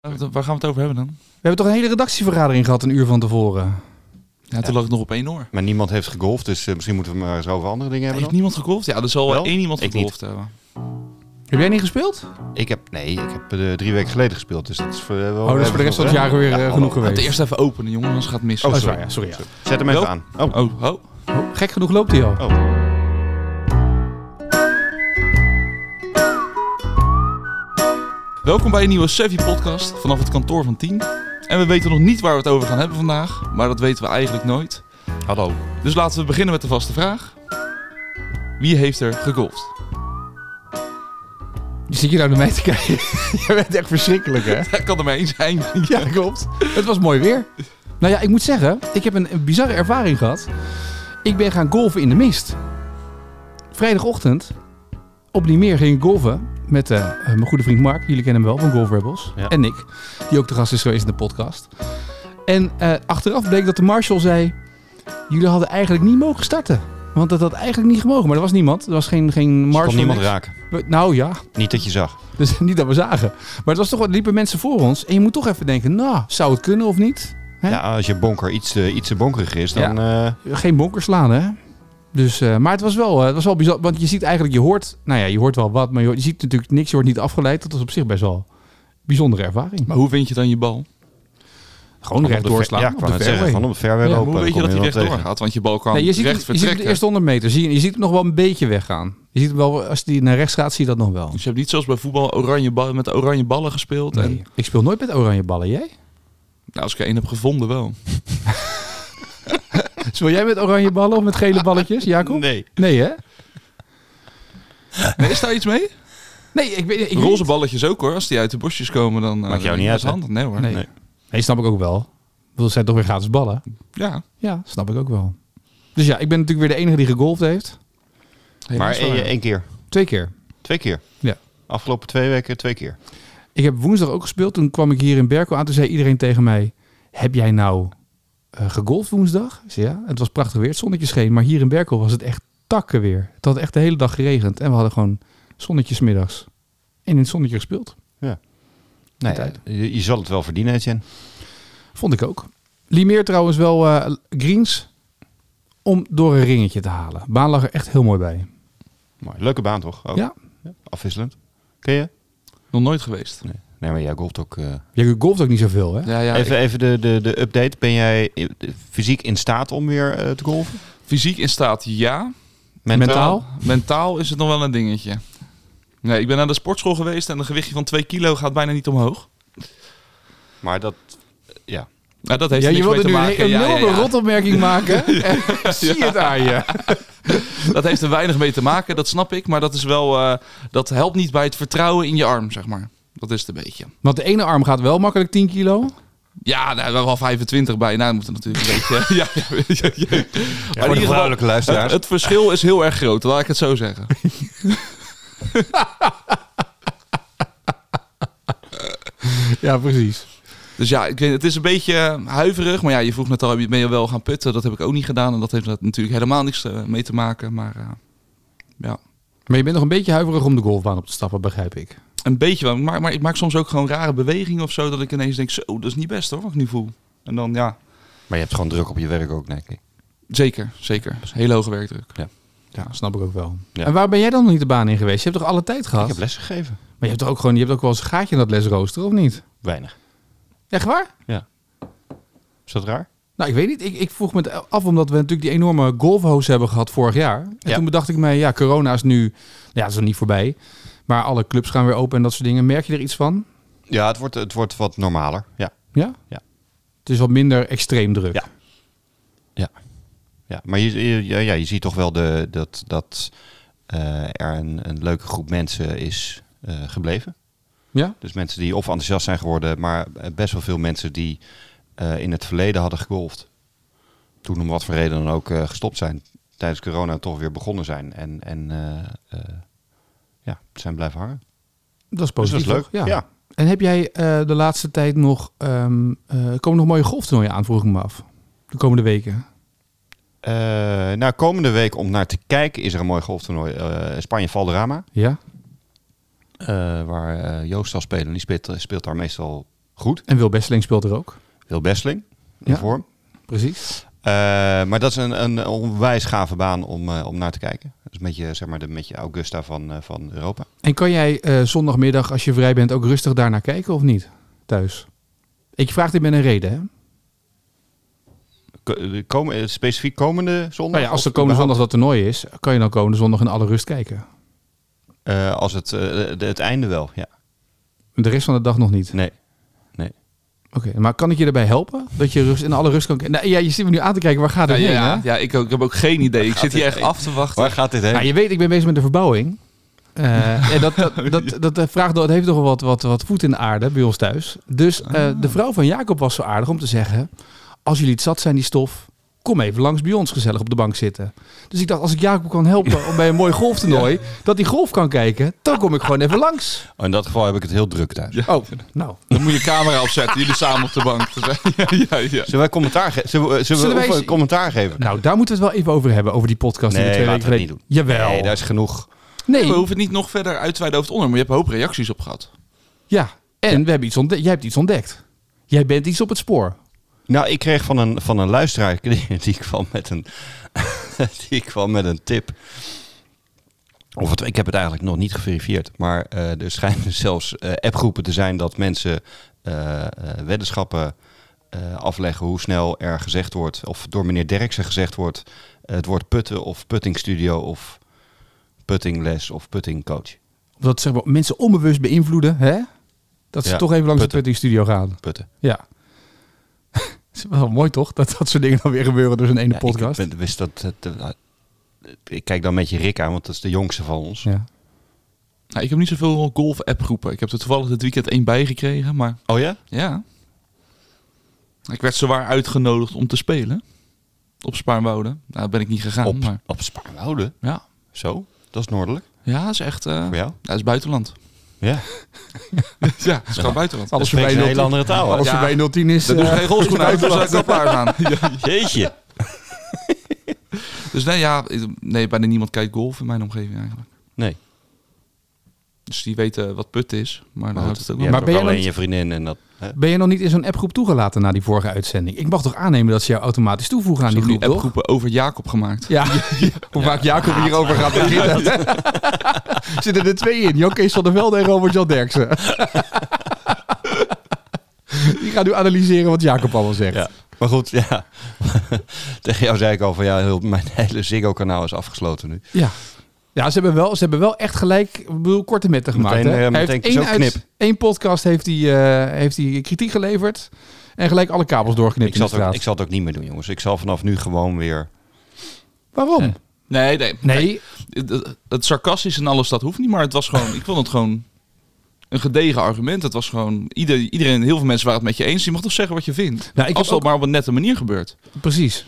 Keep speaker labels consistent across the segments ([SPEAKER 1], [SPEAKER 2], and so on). [SPEAKER 1] Waar gaan we het over hebben dan?
[SPEAKER 2] We hebben toch een hele redactievergadering gehad een uur van tevoren.
[SPEAKER 1] Ja, toen lag ik nog op één oor.
[SPEAKER 3] Maar niemand heeft gegolfd, dus eh, misschien moeten we het maar eens over andere dingen hebben
[SPEAKER 1] Heeft
[SPEAKER 3] dan.
[SPEAKER 1] niemand gegolfd? Ja, er zal wel
[SPEAKER 3] Wel?
[SPEAKER 1] één iemand
[SPEAKER 3] Ik niet.
[SPEAKER 1] gegolfd hebben.
[SPEAKER 2] Heb jij niet gespeeld?
[SPEAKER 3] Ik heb, nee, ik heb eh, drie weken geleden gespeeld, dus dat is voor, eh, wel...
[SPEAKER 2] Oh, dat is voor de rest van het jaar weer eh, genoeg
[SPEAKER 1] Laat
[SPEAKER 2] geweest.
[SPEAKER 1] het eerst even openen, jongen, anders gaat het mis.
[SPEAKER 3] Oh,
[SPEAKER 2] Oh,
[SPEAKER 3] sorry.
[SPEAKER 2] sorry, ja, sorry. ja.
[SPEAKER 3] Zet hem even
[SPEAKER 1] Jo.
[SPEAKER 3] aan. Oh,
[SPEAKER 1] Oh, oh.
[SPEAKER 2] Oh, gek genoeg loopt hij al.
[SPEAKER 1] Welkom bij een nieuwe Sevi podcast vanaf het kantoor van 10. En we weten nog niet waar we het over gaan hebben vandaag, maar dat weten we eigenlijk nooit.
[SPEAKER 3] hallo.
[SPEAKER 1] Dus laten we beginnen met de vaste vraag. Wie heeft er gegolfd?
[SPEAKER 2] Je zit je nou naar mij te kijken. je bent echt verschrikkelijk, hè?
[SPEAKER 1] Dat kan er maar één zijn.
[SPEAKER 2] Ja, klopt. Het was mooi weer. Nou ja, ik moet zeggen, ik heb een, een bizarre ervaring gehad. Ik ben gaan golven in de mist. Vrijdagochtend op die meer ging ik golven met eh, eh, mijn goede vriend Mark. Jullie kennen hem wel van Golf Rebels.
[SPEAKER 3] Ja.
[SPEAKER 2] En Nick, die ook de gast is geweest in de podcast. En eh, achteraf bleek dat de marshal zei... Jullie hadden eigenlijk niet mogen starten. Want dat had eigenlijk niet gemogen. Maar er was niemand. Er was geen, geen
[SPEAKER 3] Marshall
[SPEAKER 2] marshal.
[SPEAKER 3] niemand
[SPEAKER 2] niks.
[SPEAKER 3] raken.
[SPEAKER 2] We- Nou ja,
[SPEAKER 3] Niet dat je zag.
[SPEAKER 2] dus niet dat we zagen. Maar het was toch, er liepen mensen voor ons. En je moet toch even denken, nou, zou het kunnen of niet? Hè?
[SPEAKER 3] Ja, als je bonker iets, eh, iets te bonkerig is, dan... eh,
[SPEAKER 2] Geen bonker slaan, hè? Dus, eh, maar het was, wel, eh, het was wel bizar. Want je ziet eigenlijk, je hoort, nou ja, je hoort wel wat. Maar je, hoort- je ziet natuurlijk niks, je wordt niet afgeleid. Dat is op zich best wel een bijzondere ervaring.
[SPEAKER 1] Maar hoe vind je dan je bal?
[SPEAKER 3] Oh,
[SPEAKER 2] gewoon
[SPEAKER 3] van
[SPEAKER 2] recht
[SPEAKER 3] op de ver-
[SPEAKER 2] doorslaan.
[SPEAKER 3] Ja,
[SPEAKER 2] op
[SPEAKER 3] ik wou
[SPEAKER 2] de
[SPEAKER 3] net zeggen,
[SPEAKER 2] fairway.
[SPEAKER 3] van op de fairway
[SPEAKER 2] Ja, maar
[SPEAKER 1] Maar
[SPEAKER 3] lopen.
[SPEAKER 1] hoe weet je
[SPEAKER 3] dan
[SPEAKER 1] dat
[SPEAKER 3] kom
[SPEAKER 1] hij
[SPEAKER 3] wel
[SPEAKER 1] rechtdoor
[SPEAKER 3] tegen.
[SPEAKER 1] gaat? Want je bal kan
[SPEAKER 2] Nee, je ziet,
[SPEAKER 1] recht
[SPEAKER 2] het, je ziet het de
[SPEAKER 1] vertrekken.
[SPEAKER 2] eerste 100 meter. Zie je, je ziet het nog wel een beetje weggaan. Je ziet het wel, als die naar rechts gaat, zie je dat nog wel.
[SPEAKER 1] Dus je hebt niet zoals bij voetbal oranje ballen, met oranje ballen gespeeld. En,
[SPEAKER 2] Nee, ik speel nooit met oranje ballen, jij?
[SPEAKER 1] nou, als ik er één heb gevonden wel.
[SPEAKER 2] Speel jij met oranje ballen of met gele balletjes, Jacob?
[SPEAKER 3] Nee.
[SPEAKER 2] Nee, hè?
[SPEAKER 1] Nee, is daar iets mee?
[SPEAKER 2] Nee, ik, weet- ik,
[SPEAKER 1] Roze balletjes ook hoor. Als die uit de bosjes komen, dan... eh,
[SPEAKER 3] Maakt jou
[SPEAKER 1] dan
[SPEAKER 3] niet
[SPEAKER 1] is
[SPEAKER 3] uit,
[SPEAKER 1] het handig. Nee hoor.
[SPEAKER 2] Nee.
[SPEAKER 3] Nee.
[SPEAKER 2] Nee, snap ik ook wel. Ik bedoel, Het zijn toch weer gratis ballen?
[SPEAKER 1] Ja.
[SPEAKER 2] Ja, snap ik ook wel. Dus ja, ik ben natuurlijk weer de enige die gegolfd heeft. eh,
[SPEAKER 3] Maar
[SPEAKER 1] Helaas wel,
[SPEAKER 3] één
[SPEAKER 1] ja.
[SPEAKER 3] één keer.
[SPEAKER 2] Twee keer.
[SPEAKER 3] Twee keer.
[SPEAKER 2] Ja.
[SPEAKER 3] Afgelopen twee weken twee keer.
[SPEAKER 2] Ik heb woensdag ook gespeeld. Toen kwam ik hier in Berkel aan. Toen zei iedereen tegen mij, heb jij nou eh, gegolfd woensdag? Ik zei, ja, het was prachtig weer. Het zonnetje scheen. Maar hier in Berkel was het echt takken weer. Het had echt de hele dag geregend. En we hadden gewoon zonnetjes middags. En in het zonnetje gespeeld.
[SPEAKER 3] Nee, eh,
[SPEAKER 2] Tijd.
[SPEAKER 3] je, je zal het wel verdienen, Etienne.
[SPEAKER 2] Vond ik ook. Limeer trouwens wel eh, greens om door een ringetje te halen. Baan lag er echt heel mooi bij.
[SPEAKER 3] Mooi. Leuke baan toch? Ook.
[SPEAKER 2] Ja.
[SPEAKER 3] Afwisselend. Ken je?
[SPEAKER 1] Nog nooit geweest.
[SPEAKER 3] Nee. Nee, maar jij golft ook... eh,
[SPEAKER 2] Jij golft ook niet zoveel, hè?
[SPEAKER 1] Ja, ja,
[SPEAKER 3] even
[SPEAKER 1] ik-
[SPEAKER 3] even de, de, de update. Ben jij eh, fysiek in staat om weer eh, te golven?
[SPEAKER 1] fysiek in staat ja.
[SPEAKER 2] Mentaal?
[SPEAKER 1] Mentaal is het nog wel een dingetje. Nee, ik ben naar de sportschool geweest en een gewichtje van 2 kilo gaat bijna niet omhoog.
[SPEAKER 3] Maar dat... eh, Ja.
[SPEAKER 1] Nou, dat heeft
[SPEAKER 2] Ja,
[SPEAKER 1] er
[SPEAKER 2] je
[SPEAKER 1] niks mee
[SPEAKER 2] wilde
[SPEAKER 1] te
[SPEAKER 2] nu een
[SPEAKER 1] maken. Ja, ja,
[SPEAKER 2] enorme
[SPEAKER 1] ja.
[SPEAKER 2] rotopmerking maken. En Zie het aan je.
[SPEAKER 1] Dat heeft er weinig mee te maken, dat snap ik. Maar dat, is wel, eh, dat helpt niet bij het vertrouwen in je arm, zeg maar. Dat is het een beetje.
[SPEAKER 2] Want de ene arm gaat wel makkelijk 10 kilo.
[SPEAKER 1] Ja, nou, we hebben al 25 bij. Nou, we moeten natuurlijk een beetje... ja, ja, ja, ja. Maar in ieder geval, het,
[SPEAKER 3] luisteraars.
[SPEAKER 1] het verschil is heel erg groot, laat ik het zo zeggen.
[SPEAKER 2] Ja, precies.
[SPEAKER 1] Dus ja, ik weet, het is een beetje eh, huiverig. Maar ja, je vroeg net al, ben je wel gaan putten? Dat heb ik ook niet gedaan. En dat heeft dat natuurlijk helemaal niks eh, mee te maken. Maar eh, ja,
[SPEAKER 2] Maar je bent nog een beetje huiverig om de golfbaan op te stappen, begrijp ik.
[SPEAKER 1] een beetje wel. Maar, maar ik maak soms ook gewoon rare bewegingen of zo. Dat ik ineens denk, zo, dat is niet best hoor, wat ik nu voel. En dan ja,
[SPEAKER 3] Maar je hebt gewoon druk op je werk ook, denk eh, ik.
[SPEAKER 1] zeker, zeker. Hele hoge werkdruk.
[SPEAKER 2] Ja, snap ik ook wel.
[SPEAKER 3] Ja.
[SPEAKER 2] En waar ben jij dan nog niet de baan in geweest? Je hebt toch alle tijd gehad?
[SPEAKER 3] Ik heb les gegeven.
[SPEAKER 2] Maar je hebt toch ook gewoon, je hebt ook wel eens een gaatje in dat lesrooster, of niet?
[SPEAKER 3] Weinig.
[SPEAKER 2] Echt waar?
[SPEAKER 3] Is dat raar?
[SPEAKER 2] Nou, ik weet niet. Ik, ik vroeg me het af, omdat we natuurlijk die enorme golfhoos hebben gehad vorig jaar. En
[SPEAKER 3] Ja.
[SPEAKER 2] toen bedacht ik mij, ja, corona is nu, nou ja, dat is nog niet voorbij. Maar alle clubs gaan weer open en dat soort dingen. Merk je er iets van?
[SPEAKER 3] Ja, het wordt, het wordt wat normaler. Ja.
[SPEAKER 2] Ja?
[SPEAKER 3] Ja.
[SPEAKER 2] Het is wat minder extreem druk.
[SPEAKER 3] Ja. ja. Maar je, je- ja, ja, je ziet toch wel de, dat, dat eh, er een, een leuke groep mensen is eh, gebleven.
[SPEAKER 2] Ja?
[SPEAKER 3] Dus mensen die of enthousiast zijn geworden, maar eh, best wel veel mensen die eh, in het verleden hadden gegolfd. Toen om wat voor reden dan ook eh, gestopt zijn. Tijdens corona toch weer begonnen zijn. En, en eh, eh, ja, zijn blijven hangen.
[SPEAKER 2] Dat is
[SPEAKER 3] Dus dat
[SPEAKER 2] positief.
[SPEAKER 3] is leuk.
[SPEAKER 2] toch?
[SPEAKER 3] Ja.
[SPEAKER 2] Ja. En heb jij eh, de laatste tijd nog... ehm eh, komen nog mooie golftoernooien aan, vroeg ik me af. De komende weken.
[SPEAKER 3] Eh, nou, komende week om naar te kijken is er een mooi golftoernooi. eh, Spanje-Valderrama.
[SPEAKER 2] Ja?
[SPEAKER 3] eh, waar eh, Joost zal spelen. Die speelt, speelt daar meestal Goed.
[SPEAKER 2] En Wil Besseling speelt er ook.
[SPEAKER 3] Wil Besseling in
[SPEAKER 2] Ja.
[SPEAKER 3] vorm.
[SPEAKER 2] Precies.
[SPEAKER 3] Eh, maar dat is een, een onwijs gave baan om, eh, om naar te kijken. Dat is een beetje, zeg maar, de, een beetje Augusta van, eh, van Europa.
[SPEAKER 2] En kan jij eh, zondagmiddag, als je vrij bent, ook rustig daarnaar kijken of niet? Thuis. Ik vraag dit met een reden, hè?
[SPEAKER 3] Ko- de Komen, eh, specifiek komende zondag?
[SPEAKER 2] Nou ja, als
[SPEAKER 3] Of
[SPEAKER 2] er komende zondag
[SPEAKER 3] überhaupt?
[SPEAKER 2] dat toernooi is, kan je dan komende zondag in alle rust kijken.
[SPEAKER 3] Eh, als het, eh, de- het einde wel, ja.
[SPEAKER 2] De rest van de dag nog niet.
[SPEAKER 3] Nee.
[SPEAKER 2] Oké, maar kan ik je daarbij helpen? Dat je rust, in alle rust kan kijken? Nou, ja, je zit me nu aan te kijken, waar gaat
[SPEAKER 1] Ja,
[SPEAKER 2] het heen,
[SPEAKER 1] ja,
[SPEAKER 2] hè?
[SPEAKER 1] ja, ik, ook, ik heb ook geen idee. Ik zit hier echt af te wachten.
[SPEAKER 3] Waar gaat dit heen?
[SPEAKER 2] Nou, je weet, ik ben bezig met de verbouwing. Eh, en dat, dat, dat, dat, eh, vraagt, dat heeft toch wel wat, wat, wat voet in de aarde bij ons thuis. Dus eh, de vrouw van Jacob was zo aardig om te zeggen... als jullie het zat zijn, die stof... kom even langs bij ons gezellig op de bank zitten. Dus ik dacht, als ik Jacob kan helpen om bij een mooi golftoernooi... dat hij golf kan kijken, dan kom ik gewoon even langs.
[SPEAKER 3] Oh, in dat geval heb ik het heel druk thuis.
[SPEAKER 2] Oh, nou.
[SPEAKER 1] Dan moet je camera opzetten, jullie samen op de bank. ja, ja, ja.
[SPEAKER 3] Zullen wij commentaar, ge- zullen we, zullen we
[SPEAKER 2] Zullen wij
[SPEAKER 3] of
[SPEAKER 2] eens-
[SPEAKER 3] een commentaar geven?
[SPEAKER 2] nou, daar moeten we het wel even over hebben... over die podcast die
[SPEAKER 3] Nee,
[SPEAKER 2] we twee weken
[SPEAKER 3] laten we
[SPEAKER 2] geleden...
[SPEAKER 3] het
[SPEAKER 2] Jawel.
[SPEAKER 3] Nee, daar is genoeg.
[SPEAKER 2] Nee.
[SPEAKER 1] We hoeven het niet nog verder uit te wijden over het onder, maar je hebt een hoop reacties op gehad.
[SPEAKER 2] Ja, en we hebben iets ontdekt. jij hebt iets ontdekt. Jij bent iets op het spoor.
[SPEAKER 3] Nou, ik kreeg van een, van een luisteraar, die, die kwam met een, die kwam met een tip. Of het, ik heb het eigenlijk nog niet geverifieerd. Maar eh, er schijnen zelfs eh, appgroepen te zijn dat mensen eh, eh, weddenschappen eh, afleggen. Hoe snel er gezegd wordt, of door meneer Derksen gezegd wordt, eh, het woord putten of puttingstudio of puttingles of puttingcoach.
[SPEAKER 2] Omdat zeg maar, mensen onbewust beïnvloeden, hè? Dat ze
[SPEAKER 3] Ja,
[SPEAKER 2] toch even langs de
[SPEAKER 3] putten.
[SPEAKER 2] puttingstudio gaan.
[SPEAKER 3] Putten.
[SPEAKER 2] Ja. is wel mooi toch, dat dat soort dingen dan weer gebeuren door zo'n ene
[SPEAKER 3] Ja,
[SPEAKER 2] podcast.
[SPEAKER 3] Ik, ben- wist dat, dat- dat- ik kijk dan met je Rick aan, want dat is de jongste van ons.
[SPEAKER 2] Ja.
[SPEAKER 1] Nou, ik heb niet zoveel golf-app groepen. Ik heb er toevallig dit weekend één bij gekregen, maar
[SPEAKER 3] Oh ja?
[SPEAKER 1] ja. Ik werd zwaar uitgenodigd om te spelen. Op Spaarnwoude. Nou, ben ik niet gegaan,
[SPEAKER 3] op,
[SPEAKER 1] maar
[SPEAKER 3] op Spaarnwoude?
[SPEAKER 1] ja.
[SPEAKER 3] Zo? Dat is noordelijk
[SPEAKER 1] Ja, is echt... eh,
[SPEAKER 3] voor jou?
[SPEAKER 1] dat is buitenland.
[SPEAKER 3] Ja.
[SPEAKER 1] ja, is gewoon buitenland.
[SPEAKER 2] Alles
[SPEAKER 3] spreekt
[SPEAKER 2] voorbij 010,
[SPEAKER 3] een hele andere taal. hè?
[SPEAKER 2] alles
[SPEAKER 1] Ja.
[SPEAKER 2] voorbij 010 is...
[SPEAKER 1] Daar doe
[SPEAKER 2] eh,
[SPEAKER 1] ik geen golfschoen uit, dus zou ik al klaar gaan.
[SPEAKER 3] Jeetje.
[SPEAKER 1] Dus nee, ja, ik- nee, bijna niemand kijkt golf in mijn omgeving eigenlijk.
[SPEAKER 3] Nee.
[SPEAKER 1] Dus die weten wat put is, maar dan
[SPEAKER 3] Maar,
[SPEAKER 1] houdt
[SPEAKER 3] goed,
[SPEAKER 1] het ook
[SPEAKER 3] je
[SPEAKER 1] wel.
[SPEAKER 2] Ja.
[SPEAKER 3] maar
[SPEAKER 2] Maar ben
[SPEAKER 3] ben
[SPEAKER 2] je
[SPEAKER 3] alleen
[SPEAKER 2] dan-
[SPEAKER 3] je vriendin en dat... Hè?
[SPEAKER 2] ben je nog niet in zo'n appgroep toegelaten na die vorige uitzending? Ik mag toch aannemen dat ze jou automatisch toevoegen aan
[SPEAKER 1] Ze
[SPEAKER 2] die
[SPEAKER 1] hebben
[SPEAKER 2] groep,
[SPEAKER 1] nu
[SPEAKER 2] toch?
[SPEAKER 1] appgroepen over Jacob gemaakt.
[SPEAKER 2] Ja, hoe vaak Jacob hierover gaat beginnen. Zitten er twee in. Jan Kees van der Velde en Robert-Jan Derksen. Die gaan nu analyseren wat Jacob allemaal zegt.
[SPEAKER 3] Ja. Maar goed, ja. Tegen jou zei ik al van ja, heel, mijn hele Ziggo-kanaal is afgesloten nu.
[SPEAKER 2] Ja. Ja, ze hebben wel, ze hebben wel echt gelijk, ik bedoel, korte metten gemaakt.
[SPEAKER 3] Meteen,
[SPEAKER 2] hè? Hij
[SPEAKER 3] eh, meteen
[SPEAKER 2] heeft één,
[SPEAKER 3] zo'n
[SPEAKER 2] uit-
[SPEAKER 3] knip.
[SPEAKER 2] één podcast heeft hij, eh, heeft hij kritiek geleverd en gelijk alle kabels doorgeknipt
[SPEAKER 3] Ik
[SPEAKER 2] in
[SPEAKER 3] zal,
[SPEAKER 2] de
[SPEAKER 3] het ook,
[SPEAKER 2] straat.
[SPEAKER 3] ik zal het ook niet meer doen, jongens. Ik zal vanaf nu gewoon weer...
[SPEAKER 2] Waarom?
[SPEAKER 3] Nee.
[SPEAKER 1] Nee, nee.
[SPEAKER 2] Nee,
[SPEAKER 1] Het, het sarcastisch en alles, dat hoeft niet. Maar het was gewoon, ik vond het gewoon een gedegen argument. Het was gewoon, ieder, iedereen, heel veel mensen waren het met je eens. Je mag toch zeggen wat je vindt.
[SPEAKER 2] nou, ik
[SPEAKER 1] Als
[SPEAKER 2] heb
[SPEAKER 1] dat
[SPEAKER 2] ook,
[SPEAKER 1] maar op een nette manier gebeurt.
[SPEAKER 2] precies.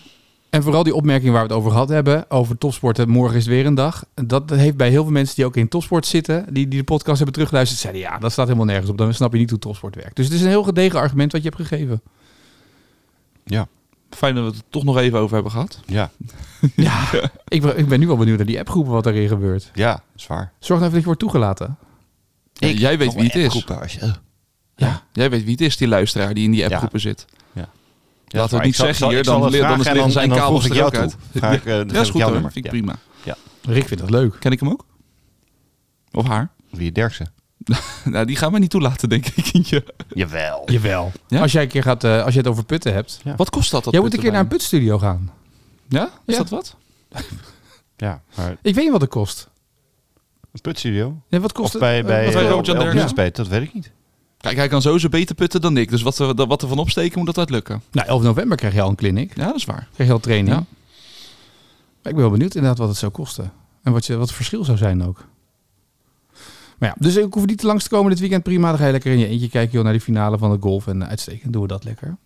[SPEAKER 2] En vooral die opmerking waar we het over gehad hebben, over topsporten, morgen is weer een dag. Dat heeft bij heel veel mensen die ook in topsport zitten, die, die de podcast hebben teruggeluisterd, zeiden ja, dat staat helemaal nergens op. Dan snap je niet hoe topsport werkt. Dus het is een heel gedegen argument wat je hebt gegeven.
[SPEAKER 1] Fijn dat we het er toch nog even over hebben gehad.
[SPEAKER 3] Ja,
[SPEAKER 2] Ja, ik, ben- ik ben nu wel benieuwd naar die appgroepen wat daarin gebeurt.
[SPEAKER 3] ja, zwaar.
[SPEAKER 2] Zorg nou even dat je wordt toegelaten.
[SPEAKER 1] Ja, jij weet wie het is.
[SPEAKER 2] Ja.
[SPEAKER 1] Jij weet wie het is, die luisteraar die in die
[SPEAKER 3] Ja.
[SPEAKER 1] appgroepen zit.
[SPEAKER 3] Ja.
[SPEAKER 1] Laten we het niet zeggen hier, dan, leer- dan is liggen zijn kabels er ook uit.
[SPEAKER 3] Vraag, eh, dan
[SPEAKER 1] Ja, is
[SPEAKER 3] geef ik
[SPEAKER 1] goed
[SPEAKER 3] jouw
[SPEAKER 1] hoor.
[SPEAKER 3] nummer.
[SPEAKER 1] Vind ik
[SPEAKER 3] Ja.
[SPEAKER 1] prima.
[SPEAKER 2] Rick vindt dat leuk.
[SPEAKER 1] Ken ik hem ook? Of haar?
[SPEAKER 3] Wie Derksen?
[SPEAKER 1] Nou, die gaan wij niet toelaten, denk ik. kindje.
[SPEAKER 3] Jawel.
[SPEAKER 2] Jawel.
[SPEAKER 1] Ja?
[SPEAKER 2] Als jij een keer gaat, eh, als je het over putten hebt.
[SPEAKER 3] Ja.
[SPEAKER 1] Wat kost dat? dat
[SPEAKER 2] jij moet een keer
[SPEAKER 1] putten
[SPEAKER 2] naar een putstudio gaan.
[SPEAKER 1] bij hem? Ja? Is
[SPEAKER 2] Ja.
[SPEAKER 1] dat wat?
[SPEAKER 3] Ja, maar
[SPEAKER 2] Ik weet niet wat het kost.
[SPEAKER 3] een putstudio?
[SPEAKER 2] Nee, wat kost
[SPEAKER 3] Of bij,
[SPEAKER 2] het?
[SPEAKER 3] bij,
[SPEAKER 1] wat wij
[SPEAKER 3] eh,
[SPEAKER 1] Robert Jan
[SPEAKER 3] El-
[SPEAKER 1] Derksen?
[SPEAKER 3] Elvis Peet, dat weet ik niet.
[SPEAKER 1] Kijk, hij kan sowieso beter putten dan ik. Dus wat er, dat- wat er van opsteken, moet dat uitlukken.
[SPEAKER 2] Nou, 11 november krijg je al een clinic.
[SPEAKER 1] Ja, dat is waar.
[SPEAKER 2] Krijg je al training.
[SPEAKER 1] Ja.
[SPEAKER 2] Maar ik ben wel benieuwd inderdaad wat het zou kosten. En wat, je, wat het verschil zou zijn ook. Maar ja, dus ik hoef niet langs te komen dit weekend. Prima, dan ga je lekker in je eentje kijken joh, naar die finale van de golf. En eh, uitstekend doen we dat lekker.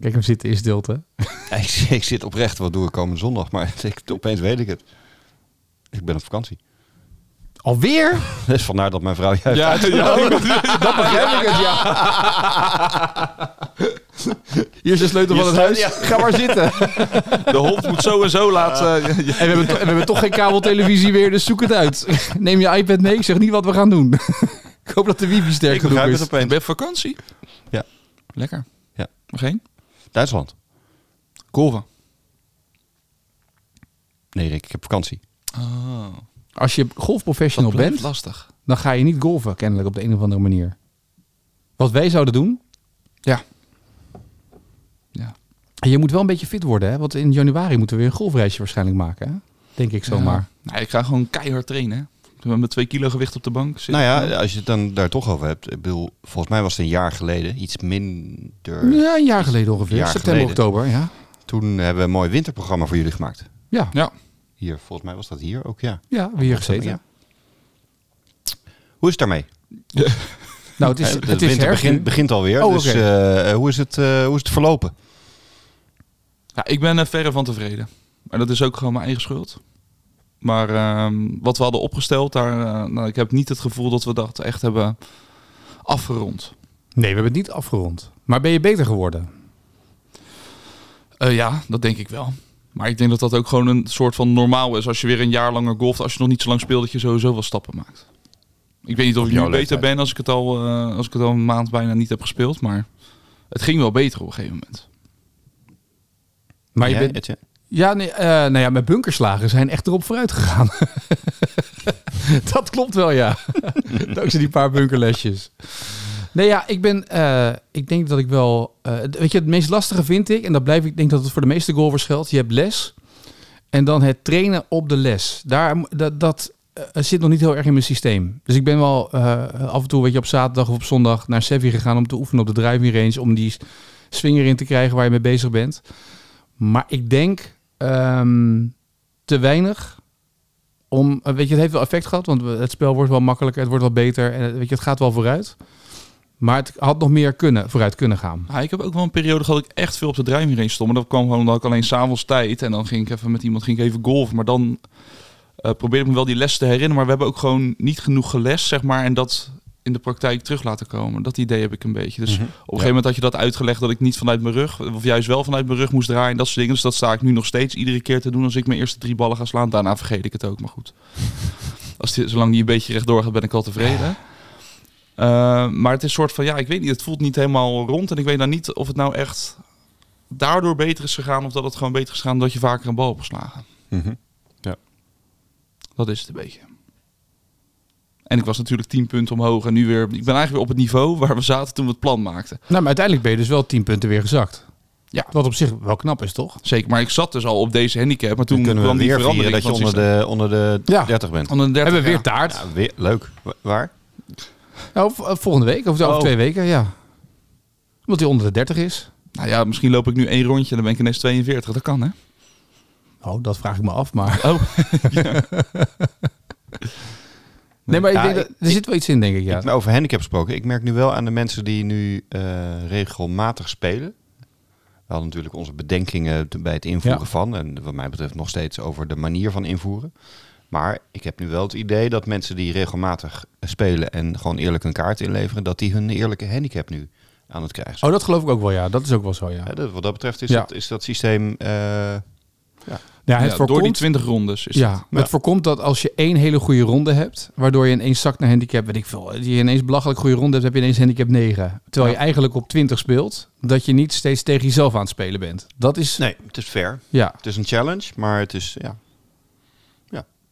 [SPEAKER 2] Kijk hem zitten is stilte.
[SPEAKER 3] Ik, ik zit oprecht, wat doe ik komende zondag? Maar ik, opeens weet ik het. Ik ben op vakantie.
[SPEAKER 2] Alweer?
[SPEAKER 3] Dus vandaar dat mijn vrouw juist...
[SPEAKER 1] Ja,
[SPEAKER 2] Dat begrijp ik het, ja. Hier is de sleutel
[SPEAKER 3] Hier
[SPEAKER 2] van het
[SPEAKER 3] staat-
[SPEAKER 2] huis.
[SPEAKER 3] ja.
[SPEAKER 2] Ga maar zitten. En
[SPEAKER 1] de hond moet zo en zo eh, laten.
[SPEAKER 2] we hebben, to- en we hebben toch geen kabeltelevisie meer, dus zoek het uit. Neem je iPad mee. Ik zeg niet wat we gaan doen. Ik hoop dat de wifi sterk
[SPEAKER 3] Ik
[SPEAKER 2] genoeg
[SPEAKER 3] begrijp
[SPEAKER 2] is.
[SPEAKER 3] het
[SPEAKER 1] Ik
[SPEAKER 3] opeens.
[SPEAKER 1] ben op vakantie.
[SPEAKER 3] Ja.
[SPEAKER 1] Lekker.
[SPEAKER 3] Ja.
[SPEAKER 1] Nog één?
[SPEAKER 3] Duitsland.
[SPEAKER 1] Golven.
[SPEAKER 3] Nee, Rick, ik heb vakantie.
[SPEAKER 1] Oh,
[SPEAKER 2] Als je golfprofessional
[SPEAKER 1] dat blijft
[SPEAKER 2] bent,
[SPEAKER 1] lastig.
[SPEAKER 2] dan ga je niet golven kennelijk op de een of andere manier. Wat wij zouden doen.
[SPEAKER 1] Ja. Ja.
[SPEAKER 2] En je moet wel een beetje fit worden, hè? Want in januari moeten we weer een golfreisje waarschijnlijk maken. Hè? Denk ik zomaar.
[SPEAKER 1] Ja. Nou, ik ga gewoon keihard trainen. hè. Ik ben met twee kilo gewicht op de bank zitten.
[SPEAKER 3] Nou ja, als je het dan daar toch over hebt. Ik bedoel, volgens mij was het een jaar geleden. Iets minder.
[SPEAKER 2] Ja, een jaar geleden ongeveer.
[SPEAKER 3] Jaar
[SPEAKER 2] September,
[SPEAKER 3] geleden.
[SPEAKER 2] oktober. Ja.
[SPEAKER 3] Toen hebben we een mooi winterprogramma voor jullie gemaakt.
[SPEAKER 2] Ja.
[SPEAKER 1] Ja.
[SPEAKER 3] Hier, volgens mij was dat hier ook, ja.
[SPEAKER 2] Ja, weer gezeten.
[SPEAKER 3] Ja. Hoe is het daarmee?
[SPEAKER 2] Nou, het is,
[SPEAKER 3] Eh, de
[SPEAKER 2] het is
[SPEAKER 3] winter
[SPEAKER 2] herfst
[SPEAKER 3] begint,
[SPEAKER 2] nu.
[SPEAKER 3] begint alweer.
[SPEAKER 2] Oh,
[SPEAKER 3] dus
[SPEAKER 2] oké.
[SPEAKER 3] eh, hoe, is het, eh, hoe is het verlopen?
[SPEAKER 1] Ja, ik ben er verre van tevreden. Maar dat is ook gewoon mijn eigen schuld. Maar ehm, wat we hadden opgesteld, daar, eh, nou, ik heb niet het gevoel dat we dat echt hebben afgerond.
[SPEAKER 2] Nee, we hebben het niet afgerond. Maar ben je beter geworden?
[SPEAKER 1] Eh, ja, dat denk ik wel. Maar ik denk dat dat ook gewoon een soort van normaal is. Als je weer een jaar langer golft, als je nog niet zo lang speelt, dat je sowieso wel stappen maakt. Ik weet niet of
[SPEAKER 3] Op
[SPEAKER 1] ik nu
[SPEAKER 3] jouw
[SPEAKER 1] beter
[SPEAKER 3] leeftijd.
[SPEAKER 1] ben als ik, het al, eh, als ik het al een maand bijna niet heb gespeeld. Maar het ging wel beter op een gegeven moment.
[SPEAKER 2] Maar je
[SPEAKER 3] Jij,
[SPEAKER 2] bent,
[SPEAKER 3] Etienne?
[SPEAKER 2] Ja, nee, eh, nou ja, mijn bunkerslagen zijn echt erop vooruit gegaan. dat klopt wel, ja. Dankzij die paar bunkerlesjes. Nee, ja, ik ben, eh, ik denk dat ik wel, eh, weet je, het meest lastige vind ik, en dat blijf ik, ik denk dat het voor de meeste golfers geldt. Je hebt les en dan het trainen op de les. Daar, mo- dat, dat eh, zit nog niet heel erg in mijn systeem. Dus ik ben wel eh, af en toe, weet je, op zaterdag of op zondag naar Sevi gegaan om te oefenen op de driving range, om die swinger in te krijgen waar je mee bezig bent. Maar ik denk ehm, te weinig. Om, eh, weet je, het heeft wel effect gehad, want we- het spel wordt wel makkelijker, het wordt wel beter en eh, weet je, het gaat wel vooruit. Maar het had nog meer kunnen, vooruit kunnen gaan.
[SPEAKER 1] Ah, ik heb ook wel een periode gehad dat ik echt veel op de driving range stond. Maar dat kwam gewoon omdat ik alleen s'avonds tijd. En dan ging ik even met iemand ging ik even golven. Maar dan eh, probeerde ik me wel die les te herinneren. Maar we hebben ook gewoon niet genoeg gelest, zeg maar. En dat in de praktijk terug laten komen. Dat idee heb ik een beetje. Dus op een gegeven moment had je dat uitgelegd dat ik niet vanuit mijn rug... of juist wel vanuit mijn rug moest draaien. Dat soort dingen. Dus dat sta ik nu nog steeds iedere keer te doen... als ik mijn eerste drie ballen ga slaan. Daarna vergeet ik het ook, maar goed. Als die, zolang die een beetje rechtdoor gaat, ben ik al tevreden. Eh, maar het is soort van, ja, ik weet niet, het voelt niet helemaal rond. En ik weet dan niet of het nou echt daardoor beter is gegaan... of dat het gewoon beter is gegaan dat je vaker een bal hebt geslagen. Dat is het een beetje. En ik was natuurlijk 10 punten omhoog en nu weer. Ik ben eigenlijk weer op het niveau waar we zaten toen we het plan maakten.
[SPEAKER 2] Nou, maar uiteindelijk ben je dus wel 10 punten weer gezakt.
[SPEAKER 1] Ja.
[SPEAKER 2] Wat op zich wel knap is, toch?
[SPEAKER 1] Zeker, maar ik zat dus al op deze handicap. Maar toen
[SPEAKER 3] Dan kunnen we
[SPEAKER 1] kwam die
[SPEAKER 3] weer vieren
[SPEAKER 1] verandering.
[SPEAKER 3] dat je
[SPEAKER 1] van
[SPEAKER 3] onder de, onder de
[SPEAKER 2] Ja.
[SPEAKER 3] 30 bent.
[SPEAKER 1] 130,
[SPEAKER 2] Hebben we weer
[SPEAKER 1] ja.
[SPEAKER 2] taart?
[SPEAKER 3] Ja, weer, leuk. Wa- Waar?
[SPEAKER 2] Nou, v- eh, volgende week of over
[SPEAKER 1] Oh.
[SPEAKER 2] twee weken, ja. Omdat hij onder de 30 is.
[SPEAKER 1] Nou ja, misschien loop ik nu één rondje en dan ben ik ineens 42. Dat kan, hè?
[SPEAKER 2] Oh, dat vraag ik me af, maar.
[SPEAKER 1] Oh,
[SPEAKER 2] Nee, maar ik
[SPEAKER 3] Ja,
[SPEAKER 2] denk dat,
[SPEAKER 3] ik-
[SPEAKER 2] er zit wel iets in, denk ik. Ja.
[SPEAKER 3] Ik ben Nou, over handicap gesproken. Ik merk nu wel aan de mensen die nu eh, regelmatig spelen. We hadden natuurlijk onze bedenkingen te- bij het invoeren
[SPEAKER 2] Ja.
[SPEAKER 3] van. En wat mij betreft nog steeds over de manier van invoeren. Maar ik heb nu wel het idee dat mensen die regelmatig spelen en gewoon eerlijk een kaart inleveren, dat die hun eerlijke handicap nu aan het krijgen zijn.
[SPEAKER 2] Oh, dat geloof ik ook wel, ja. Dat is ook wel zo, ja.
[SPEAKER 3] Hè, dat, wat dat betreft is,
[SPEAKER 2] Oh. Ja.
[SPEAKER 3] dat, is dat systeem. eh,
[SPEAKER 2] ja
[SPEAKER 1] ja,
[SPEAKER 2] het
[SPEAKER 1] door die
[SPEAKER 2] voorkomt
[SPEAKER 1] 20 rondes is
[SPEAKER 2] ja,
[SPEAKER 1] het.
[SPEAKER 2] het voorkomt dat als je één hele goede ronde hebt, waardoor je ineens zakt naar handicap, weet ik veel, eh, je ineens belachelijk goede ronde hebt, heb je ineens handicap 9. Terwijl je eigenlijk op 20 speelt, dat je niet steeds tegen jezelf aan het spelen bent. Dat is,
[SPEAKER 3] nee, het is fair.
[SPEAKER 2] ja.
[SPEAKER 3] Het is een challenge, maar het is. Ja.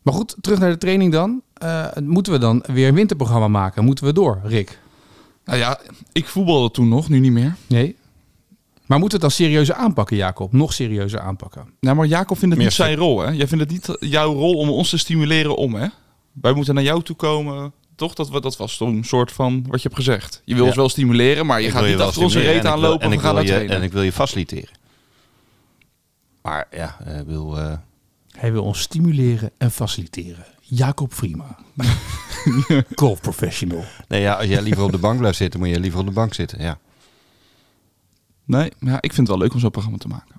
[SPEAKER 2] Maar goed, terug naar de training dan. Eh, moeten we dan weer een winterprogramma maken? Moeten we door, Rick?
[SPEAKER 1] Nou ja, ik voetbalde toen nog, nu niet meer.
[SPEAKER 2] Nee. Maar moeten we het dan serieuzer aanpakken, Jacob? Nog serieuzer aanpakken.
[SPEAKER 1] Nou, maar Jacob vindt het
[SPEAKER 3] Meer
[SPEAKER 1] niet zijn rol, hè? Jij vindt het niet jouw rol om ons te stimuleren om, hè? Wij moeten naar jou toe komen. Toch? Dat, we- dat was toen een soort van wat je hebt gezegd. Je wil
[SPEAKER 3] Ja.
[SPEAKER 1] ons wel stimuleren, maar je
[SPEAKER 3] Ik
[SPEAKER 1] gaat
[SPEAKER 3] wil
[SPEAKER 1] niet
[SPEAKER 3] wel
[SPEAKER 1] achter onze
[SPEAKER 3] stimuleren
[SPEAKER 1] reet
[SPEAKER 3] en ik wil-
[SPEAKER 1] aanlopen.
[SPEAKER 3] En
[SPEAKER 1] we
[SPEAKER 3] ik,
[SPEAKER 1] gaan
[SPEAKER 3] wil
[SPEAKER 1] naar
[SPEAKER 3] je,
[SPEAKER 1] trainen.
[SPEAKER 3] en ik wil je faciliteren. Maar ja, eh, ik bedoel, eh,
[SPEAKER 2] Hij wil ons stimuleren en faciliteren. Jacob Vrima. Golfprofessional.
[SPEAKER 3] nee, ja, als jij liever op de bank blijft zitten, moet je liever op de bank zitten. Ja.
[SPEAKER 1] Nee, maar ja, ik vind het wel leuk om zo'n programma te maken.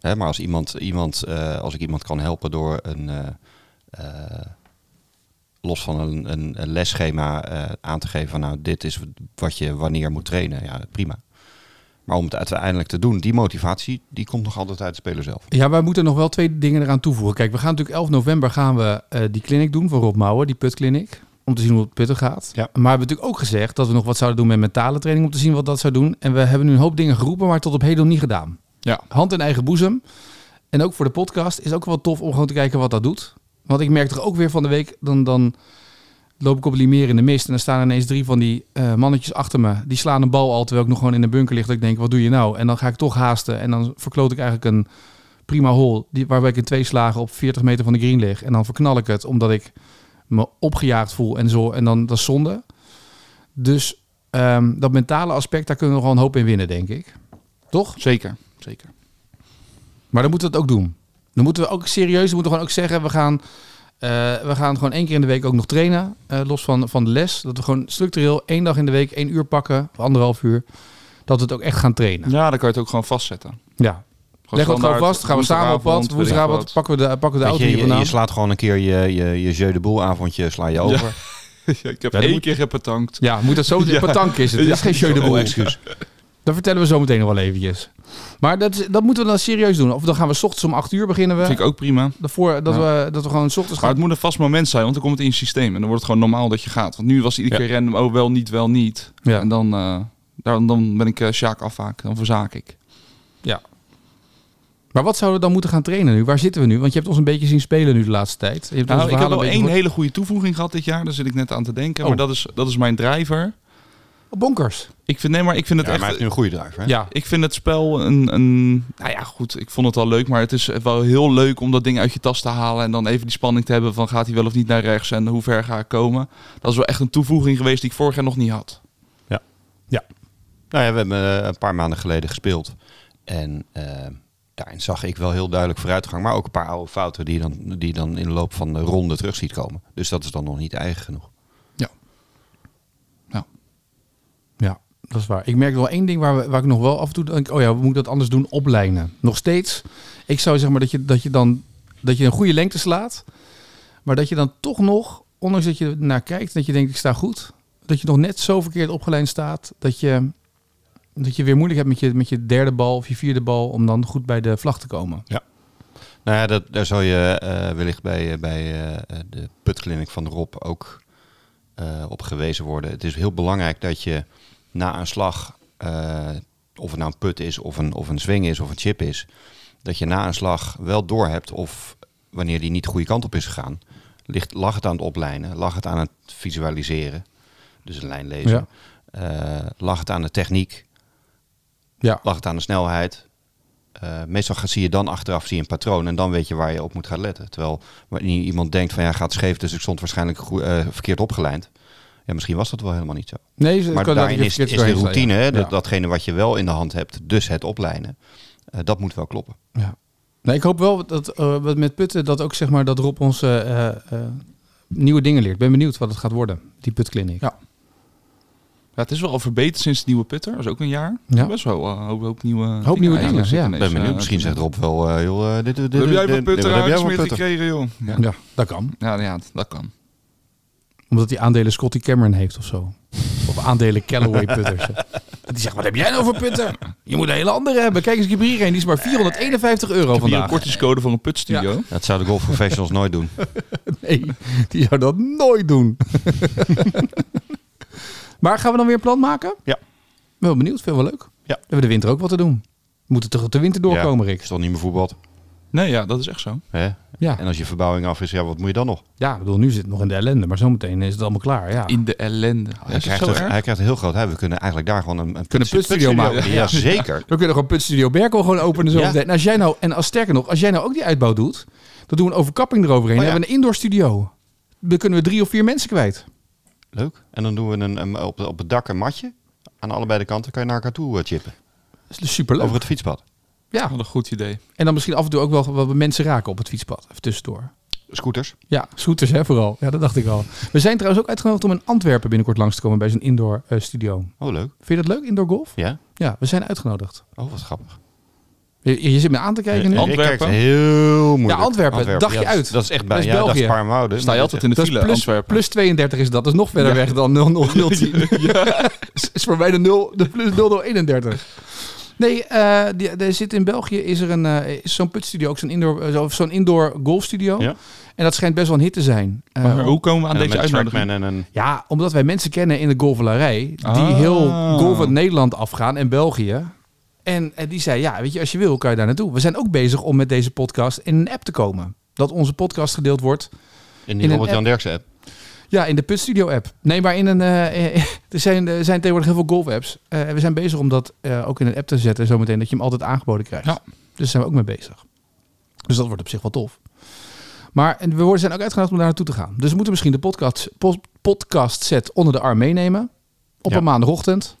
[SPEAKER 3] Hè, maar als, iemand, iemand, eh, als ik iemand kan helpen door een. eh, eh, los van een, een, een lesschema eh, aan te geven van nou, dit is wat je wanneer moet trainen. Ja, prima. Maar om het uiteindelijk te doen, die motivatie, die komt nog altijd uit de speler zelf.
[SPEAKER 2] Ja, wij moeten nog wel twee dingen eraan toevoegen. Kijk, we gaan natuurlijk 11 november gaan we eh, die clinic doen van Rob Mouwen, die putclinic. om te zien hoe het putten gaat.
[SPEAKER 3] Ja.
[SPEAKER 2] Maar we hebben natuurlijk ook gezegd dat we nog wat zouden doen met mentale training om te zien wat dat zou doen. En we hebben nu een hoop dingen geroepen, maar tot op heden nog niet gedaan.
[SPEAKER 1] Ja.
[SPEAKER 2] Hand in eigen boezem. En ook voor de podcast is ook wel tof om gewoon te kijken wat dat doet. Want ik merk toch ook weer van de week, dan, dan loop ik op Limeer in de mist en dan staan er ineens drie van die eh, mannetjes achter me. Die slaan een bal al terwijl ik nog gewoon in de bunker lig. Dat ik denk, wat doe je nou? En dan ga ik toch haasten en dan verkloot ik eigenlijk een prima hole. Die, waarbij ik in twee slagen op 40 meter van de green lig. En dan verknal ik het omdat ik me opgejaagd voel en zo. En dan dat is zonde. Dus ehm, dat mentale aspect, daar kunnen we nog wel een hoop in winnen, denk ik. Toch?
[SPEAKER 1] Zeker, zeker.
[SPEAKER 2] Maar dan moeten we het ook doen. Dan moeten we ook serieus, dan moeten we gewoon ook zeggen, we gaan, eh, we gaan gewoon één keer in de week ook nog trainen. eh, los van, van de les. Dat we gewoon structureel één dag in de week, één uur pakken, of anderhalf uur. Dat we het ook echt gaan trainen.
[SPEAKER 1] Nou. Ja, dan kan je het ook gewoon vastzetten.
[SPEAKER 2] Ja. Leg het gewoon
[SPEAKER 1] standaard,
[SPEAKER 2] vast, gaan we samen op pad.
[SPEAKER 1] woensdagavond,
[SPEAKER 2] Woensdagavond pakken we de, pakken we de
[SPEAKER 3] Weet
[SPEAKER 2] auto
[SPEAKER 3] je,
[SPEAKER 2] hier
[SPEAKER 3] je, je
[SPEAKER 2] vandaan.
[SPEAKER 3] slaat gewoon een keer je, je, je jeu de boel avondje sla je over.
[SPEAKER 1] Ja, ik heb
[SPEAKER 2] Ja, dan
[SPEAKER 1] één
[SPEAKER 2] moet-
[SPEAKER 1] keer gepetankt.
[SPEAKER 2] Ja, moet dat zo...
[SPEAKER 1] Ja.
[SPEAKER 2] Patank is het. Het is geen jeu de boel. Dat vertellen we zo meteen nog wel eventjes. Maar dat, is- dat moeten we dan serieus doen. Of dan gaan we 's ochtends om 8 uur beginnen we.
[SPEAKER 1] Vind ik ook prima.
[SPEAKER 2] Daarvoor dat, we, dat we gewoon 's ochtends
[SPEAKER 1] Maar het
[SPEAKER 2] gaan.
[SPEAKER 1] moet een vast moment zijn, want dan komt het in je systeem. En dan wordt het gewoon normaal dat je gaat. Want nu was het iedere
[SPEAKER 3] Ja.
[SPEAKER 1] keer random, oh wel, niet, wel, niet.
[SPEAKER 2] Ja.
[SPEAKER 1] En dan, eh, dan, dan ben ik eh Sjaak afhaak, dan verzaak ik.
[SPEAKER 2] Maar wat zouden we dan moeten gaan trainen nu? Waar zitten we nu? Want je hebt ons een beetje zien spelen nu de laatste tijd. Je hebt onze
[SPEAKER 1] Nou, ik heb
[SPEAKER 2] verhalen
[SPEAKER 1] wel
[SPEAKER 2] een
[SPEAKER 1] één
[SPEAKER 2] beetje gehoord.
[SPEAKER 1] hele goede toevoeging gehad dit jaar. Daar zit ik net aan te denken.
[SPEAKER 2] Oh.
[SPEAKER 1] Maar dat is, dat is mijn drijver.
[SPEAKER 2] Oh, Bonkers.
[SPEAKER 1] Ik vind, nee, maar ik vind
[SPEAKER 3] Ja,
[SPEAKER 1] het
[SPEAKER 3] maar hij
[SPEAKER 1] echt...
[SPEAKER 3] heeft nu een goede driver. hè?
[SPEAKER 2] Ja.
[SPEAKER 1] Ik vind het spel een, een... Nou ja, goed. Ik vond het al leuk. Maar het is wel heel leuk om dat ding uit je tas te halen. En dan even die spanning te hebben van gaat hij wel of niet naar rechts. En hoe ver ga ik komen. Dat is wel echt een toevoeging geweest die ik vorig jaar nog niet had.
[SPEAKER 3] Nou ja, we hebben eh, een paar maanden geleden gespeeld. En eh, daarin zag ik wel heel duidelijk vooruitgang. Maar ook een paar oude fouten die je dan, die je dan in de loop van de ronde terug ziet komen. Dus dat is dan nog niet eigen genoeg.
[SPEAKER 2] ja, dat is waar. Ik merk wel één ding waar, we, waar ik nog wel af en toe denk... Oh ja, we moeten dat anders doen. Oplijnen. Nog steeds. Ik zou zeggen maar dat je, dat je dan... Dat je een goede lengte slaat. Maar dat je dan toch nog... Ondanks dat je naar kijkt en dat je denkt ik sta goed. Dat je nog net zo verkeerd opgelijnd staat. Dat je, dat je weer moeilijk hebt met je, met je derde bal of je vierde bal. Om dan goed bij de vlag te komen.
[SPEAKER 3] Nou ja, dat, daar zou je eh, wellicht bij, eh, bij eh, de putkliniek van Rob ook eh, op gewezen worden. Het is heel belangrijk dat je na een slag, eh, of het nou een put is, of een, of een swing is, of een chip is, dat je na een slag wel doorhebt of wanneer die niet de goede kant op is gegaan, ligt, lag het aan het oplijnen, lag het aan het visualiseren, dus een lijn lezen,
[SPEAKER 2] Ja.
[SPEAKER 3] eh, lag het aan de techniek,
[SPEAKER 2] Ja.
[SPEAKER 3] lag het aan de snelheid. Eh, meestal ga- zie je dan achteraf zie je een patroon en dan weet je waar je op moet gaan letten. Terwijl wanneer iemand denkt van ja, gaat scheef, dus ik stond waarschijnlijk goe- eh, verkeerd opgelijnd. Ja, misschien was dat wel helemaal niet zo.
[SPEAKER 2] Nee, ze
[SPEAKER 3] Maar
[SPEAKER 2] kan
[SPEAKER 3] daarin
[SPEAKER 2] je
[SPEAKER 3] is,
[SPEAKER 2] verkeerd
[SPEAKER 3] is de
[SPEAKER 2] doorheen
[SPEAKER 3] routine,
[SPEAKER 2] slaan,
[SPEAKER 3] hè,
[SPEAKER 2] ja.
[SPEAKER 3] dat,
[SPEAKER 2] Ja.
[SPEAKER 3] datgene wat je wel in de hand hebt, dus het oplijnen, eh, dat moet wel kloppen.
[SPEAKER 2] Ja. Nee, ik hoop wel dat eh, wat met putten dat ook zeg maar dat Rob ons eh, eh, eh, nieuwe dingen leert. Ik ben benieuwd wat het gaat worden, die putclinic.
[SPEAKER 1] Ja. Ja, het is wel al verbeterd sinds de nieuwe putter. Dat is ook een jaar.
[SPEAKER 2] Ja.
[SPEAKER 1] Best wel eh, een hoop, hoop nieuwe
[SPEAKER 2] nieuwe dingen,
[SPEAKER 1] eigenlijk
[SPEAKER 2] ja.
[SPEAKER 1] ineens,
[SPEAKER 3] ben benieuwd,
[SPEAKER 1] eh,
[SPEAKER 3] Dus, misschien zegt Rob wel, eh, joh, eh, dit, dit,
[SPEAKER 1] Wat
[SPEAKER 3] dit-
[SPEAKER 1] heb jij van
[SPEAKER 3] dit- dit-
[SPEAKER 1] putter
[SPEAKER 3] wat heb jij voor
[SPEAKER 1] uitgesmeerd
[SPEAKER 3] putter?
[SPEAKER 1] gekregen, joh? Ja,
[SPEAKER 2] Ja. dat kan.
[SPEAKER 1] ja, nou ja dat- dat kan.
[SPEAKER 2] Omdat hij aandelen Scotty Cameron heeft of zo. Of aandelen Callaway putters. hè. Dat die zegt, wat heb jij nou voor putter? Je moet een hele andere hebben. Kijk eens, ik heb hier een. Die is maar 451 euro
[SPEAKER 1] Ik heb hier een
[SPEAKER 2] vandaag.
[SPEAKER 1] kortingscode voor een putstudio.
[SPEAKER 3] Dat zouden golf professionals nooit doen.
[SPEAKER 2] Nee, die zou dat nooit doen. maar gaan we dan weer een plan maken?
[SPEAKER 3] Ja.
[SPEAKER 2] Ik ben wel benieuwd, vind ik wel leuk. We hebben de winter ook wat te doen. We moeten toch de winter doorkomen,
[SPEAKER 3] Ja,
[SPEAKER 2] Rick?
[SPEAKER 3] Is toch niet meer voetbal?
[SPEAKER 1] Nee, ja, dat is echt zo.
[SPEAKER 3] Hè?
[SPEAKER 2] Ja.
[SPEAKER 3] En als je verbouwing af is, ja, wat moet je dan nog?
[SPEAKER 2] Ja, ik bedoel, nu zit het nog in de ellende, maar zometeen is het allemaal klaar. Ja.
[SPEAKER 1] In de ellende.
[SPEAKER 3] Hij,
[SPEAKER 1] is het
[SPEAKER 3] krijgt
[SPEAKER 1] zo
[SPEAKER 3] een,
[SPEAKER 1] erg?
[SPEAKER 3] hij krijgt een heel groot huis. We kunnen eigenlijk daar gewoon een, een
[SPEAKER 2] Kunnen putstudio maken. Ja.
[SPEAKER 3] Ja, zeker.
[SPEAKER 2] We kunnen gewoon Putstudio Berkel gewoon openen zo
[SPEAKER 3] Ja.
[SPEAKER 2] meteen. En als jij nou, en als sterker nog, als jij nou ook die uitbouw doet, dan doen we een overkapping eroverheen.
[SPEAKER 3] Oh ja.
[SPEAKER 2] Dan hebben we een indoor studio. Dan kunnen we drie of vier mensen kwijt.
[SPEAKER 3] Leuk. En dan doen we een, een- op, op het dak een matje. Aan allebei de kanten kan je naar elkaar toe eh, chippen.
[SPEAKER 2] Dat is superleuk.
[SPEAKER 3] Over het fietspad.
[SPEAKER 2] Ja,
[SPEAKER 1] Wat een goed idee.
[SPEAKER 2] en dan misschien af en toe ook wel wat mensen raken op het fietspad. Even tussendoor.
[SPEAKER 3] Scooters.
[SPEAKER 2] Ja, scooters hè, vooral. Ja, dat dacht ik al. We zijn trouwens ook uitgenodigd om in Antwerpen binnenkort langs te komen bij zo'n indoor eh, studio.
[SPEAKER 3] Oh, leuk.
[SPEAKER 2] Vind je dat leuk, indoor golf?
[SPEAKER 3] Ja?
[SPEAKER 2] Ja, we zijn uitgenodigd.
[SPEAKER 3] Oh, wat grappig.
[SPEAKER 2] Je, je zit me aan te kijken nu.
[SPEAKER 3] Eh, Rick
[SPEAKER 1] Antwerpen?
[SPEAKER 3] kijkt heel moeilijk.
[SPEAKER 2] Ja, Antwerpen. Dacht je
[SPEAKER 3] Ja, dat is-
[SPEAKER 2] uit.
[SPEAKER 3] Dat is echt bij
[SPEAKER 2] Dat is
[SPEAKER 3] ja, dat is
[SPEAKER 2] België.
[SPEAKER 3] Parmoude.
[SPEAKER 1] Sta je altijd in de
[SPEAKER 2] Dat is
[SPEAKER 1] file,
[SPEAKER 2] plus,
[SPEAKER 1] Antwerpen.
[SPEAKER 2] plus 32 is dat. Dat is nog verder weg dan 0010. is voor mij de, 0, de plus 0031. Nee, eh, die, er zit in België is er een eh, is zo'n putstudio, ook zo'n indoor, eh, zo- of zo'n indoor golfstudio.
[SPEAKER 3] Ja.
[SPEAKER 2] En dat schijnt best wel een hit te zijn. Eh,
[SPEAKER 1] Maar hoe komen we aan
[SPEAKER 3] En dan
[SPEAKER 1] deze
[SPEAKER 3] met een
[SPEAKER 1] uitnodiging?
[SPEAKER 3] Trackman en een...
[SPEAKER 2] Ja, omdat wij mensen kennen in de golfvalarij die
[SPEAKER 1] Ah.
[SPEAKER 2] heel golf uit Nederland afgaan en België. En, eh, die zei, ja, weet je, als je wil kan je daar naartoe. We zijn ook bezig om met deze podcast in een app te komen. Dat onze podcast gedeeld wordt.
[SPEAKER 3] In
[SPEAKER 2] In een
[SPEAKER 3] die Robert-Jan Derksen app.
[SPEAKER 2] Ja, in de Put Studio app. Nee, maar in een, eh, eh, er zijn, er zijn tegenwoordig heel veel golf apps. en we zijn bezig om dat eh, ook in een app te zetten. Zometeen dat je hem altijd aangeboden krijgt.
[SPEAKER 1] Ja.
[SPEAKER 2] Dus daar zijn we ook mee bezig. Dus dat wordt op zich wel tof. Maar en we worden- zijn ook uitgenodigd om daar naartoe te gaan. Dus we moeten misschien de podcast, pos- podcast set onder de arm meenemen. Op
[SPEAKER 3] Ja.
[SPEAKER 2] een maandagochtend.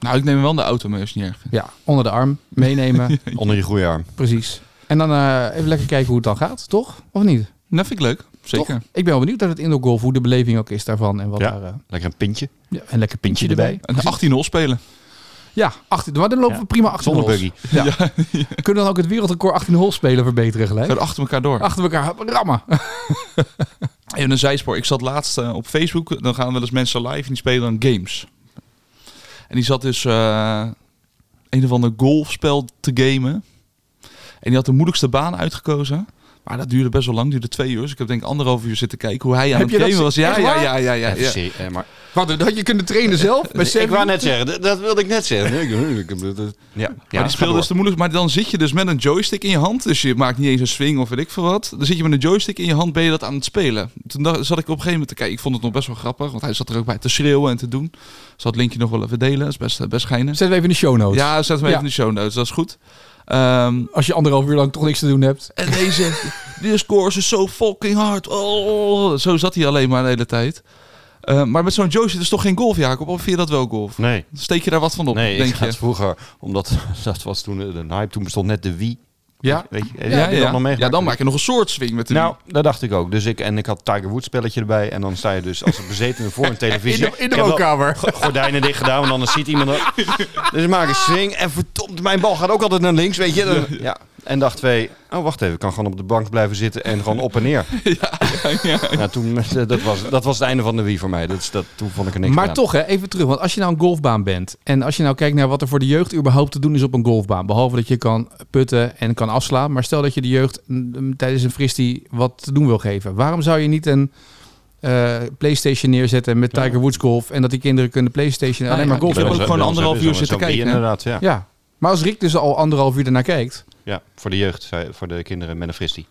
[SPEAKER 1] Nou, ik neem wel de auto mee als je het niet erg vindt.
[SPEAKER 2] Ja, onder de arm meenemen.
[SPEAKER 3] Onder je goede arm.
[SPEAKER 2] Precies. En dan eh, even lekker kijken hoe het dan gaat, toch? Of niet?
[SPEAKER 1] Dat Nou, vind ik leuk. Zeker.
[SPEAKER 2] Toch? Ik ben wel benieuwd naar het indoor golf, hoe de beleving ook is daarvan. En wat
[SPEAKER 3] Ja.
[SPEAKER 2] daar, eh,
[SPEAKER 3] Lekker een pintje.
[SPEAKER 2] ja, en lekker pintje
[SPEAKER 3] Pintje
[SPEAKER 2] erbij.
[SPEAKER 3] erbij.
[SPEAKER 1] Een 18-0 spelen.
[SPEAKER 2] Ja, 18, maar dan lopen
[SPEAKER 3] Ja.
[SPEAKER 2] we prima achter
[SPEAKER 3] Zonder buggy.
[SPEAKER 2] Ja. Kunnen we dan ook het wereldrecord 18 hol spelen verbeteren gelijk?
[SPEAKER 1] Gaat achter elkaar door.
[SPEAKER 2] Achter elkaar rammen.
[SPEAKER 1] Even een zijspoor. Ik zat laatst eh, op Facebook. Dan gaan wel eens mensen live en die spelen dan games. En die zat dus eh, een of ander golfspel te gamen. En die had de moeilijkste baan uitgekozen. Maar dat duurde best wel lang. duurde twee uur. Dus ik heb denk ik anderhalf uur zitten kijken hoe hij aan het
[SPEAKER 2] Heb je dat
[SPEAKER 1] gamen was.
[SPEAKER 2] zi-
[SPEAKER 1] Ja,
[SPEAKER 2] echt
[SPEAKER 1] ja,
[SPEAKER 2] waar?
[SPEAKER 1] ja, ja, ja,
[SPEAKER 3] Even
[SPEAKER 1] ja.
[SPEAKER 3] serie- eh, maar
[SPEAKER 2] Wat, dat had je kunnen trainen zelf? Met
[SPEAKER 3] ik
[SPEAKER 2] zeven?
[SPEAKER 3] wou net zeggen, dat, dat wilde ik net zeggen. Ik- ik- ik- ik- ik- Ja, ja,
[SPEAKER 1] maar die speelde dus de moeilijk. Maar dan zit je dus met een joystick in je hand. Dus je maakt niet eens een swing of weet ik veel wat. Dan zit je met een joystick in je hand, ben je dat aan het spelen. Toen dacht- zat ik op een gegeven moment te kijken. Ik vond het nog best wel grappig, want hij zat er ook bij te schreeuwen en te doen. Zal het linkje nog wel even delen. Dat is best, eh, best geinig.
[SPEAKER 2] Zetten we even in de show notes.
[SPEAKER 1] Ja, zet hem even
[SPEAKER 2] Ja.
[SPEAKER 1] in de show notes. Dat is goed. Ehm,
[SPEAKER 2] Als je anderhalf uur lang toch niks te doen hebt.
[SPEAKER 1] en deze, die scores is zo fucking hard. Oh, zo zat hij alleen maar de hele tijd. Eh, maar met zo'n joystick is toch geen golf, Jacob? Of vind je dat wel golf?
[SPEAKER 3] Nee,
[SPEAKER 1] Steek je daar wat van op,
[SPEAKER 3] nee
[SPEAKER 1] denk
[SPEAKER 3] ik had
[SPEAKER 1] je?
[SPEAKER 3] vroeger, omdat dat was toen eh, de hype, toen bestond net de Wii.
[SPEAKER 2] Ja.
[SPEAKER 3] Weet je,
[SPEAKER 1] Ja, ja,
[SPEAKER 3] heb je dat nog
[SPEAKER 1] ja.
[SPEAKER 3] meegemaakt?
[SPEAKER 1] dan maak je nog een soort swing met de
[SPEAKER 3] Nou, dat dacht ik ook. Dus ik, en ik had Tiger Woods spelletje erbij. En dan sta je dus als een bezetene voor een televisie.
[SPEAKER 2] In de, in de
[SPEAKER 3] Ik heb wel
[SPEAKER 2] woonkamer.
[SPEAKER 3] go- gordijnen dicht gedaan, want anders ziet iemand dat. Dus ik maak een swing. En verdomd, mijn bal gaat ook altijd naar links, weet je. Dan- ja. En dag twee, oh wacht even, ik kan gewoon op de bank blijven zitten en gewoon op en neer. Nou, toen, dat, was, dat was het einde van de wie voor mij. Dat, is- dat, toen vond ik er niks meer
[SPEAKER 2] Maar
[SPEAKER 3] aan.
[SPEAKER 2] toch, hè, even terug. Want als je nou een golfbaan bent. En als je nou kijkt naar wat er voor de jeugd überhaupt te doen is op een golfbaan. Behalve dat je kan putten en kan afslaan. Maar stel dat je de jeugd mm, tijdens een fristie wat te doen wil geven. Waarom zou je niet een eh, Playstation neerzetten met Tiger Woods golf. En dat die kinderen kunnen Playstation
[SPEAKER 1] Nou
[SPEAKER 2] alleen
[SPEAKER 1] ja,
[SPEAKER 2] maar golf
[SPEAKER 1] die
[SPEAKER 3] Bij
[SPEAKER 1] hebben
[SPEAKER 3] ons-
[SPEAKER 1] ook gewoon
[SPEAKER 3] bij ons
[SPEAKER 1] anderhalf uur
[SPEAKER 3] hebben
[SPEAKER 1] zitten
[SPEAKER 3] ze zo'n wie
[SPEAKER 1] kijken, hè?
[SPEAKER 3] Inderdaad, ja.
[SPEAKER 2] Ja. Maar als Rick dus al anderhalf uur ernaar kijkt.
[SPEAKER 3] ja. Voor de jeugd, zei- voor de kinderen met een fristie.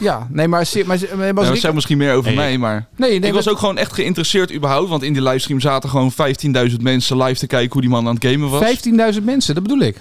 [SPEAKER 2] Ja, nee, maar, se- maar, se- maar als
[SPEAKER 1] Nou, dat
[SPEAKER 2] Rick...
[SPEAKER 1] zijn misschien meer over
[SPEAKER 3] Nee,
[SPEAKER 1] mij, maar...
[SPEAKER 2] Nee, nee,
[SPEAKER 1] ik was
[SPEAKER 2] dat-
[SPEAKER 1] ook gewoon echt geïnteresseerd überhaupt. Want in die livestream zaten gewoon 15.000 mensen live te kijken hoe die man aan het gamen was.
[SPEAKER 2] 15.000 mensen, dat bedoel ik.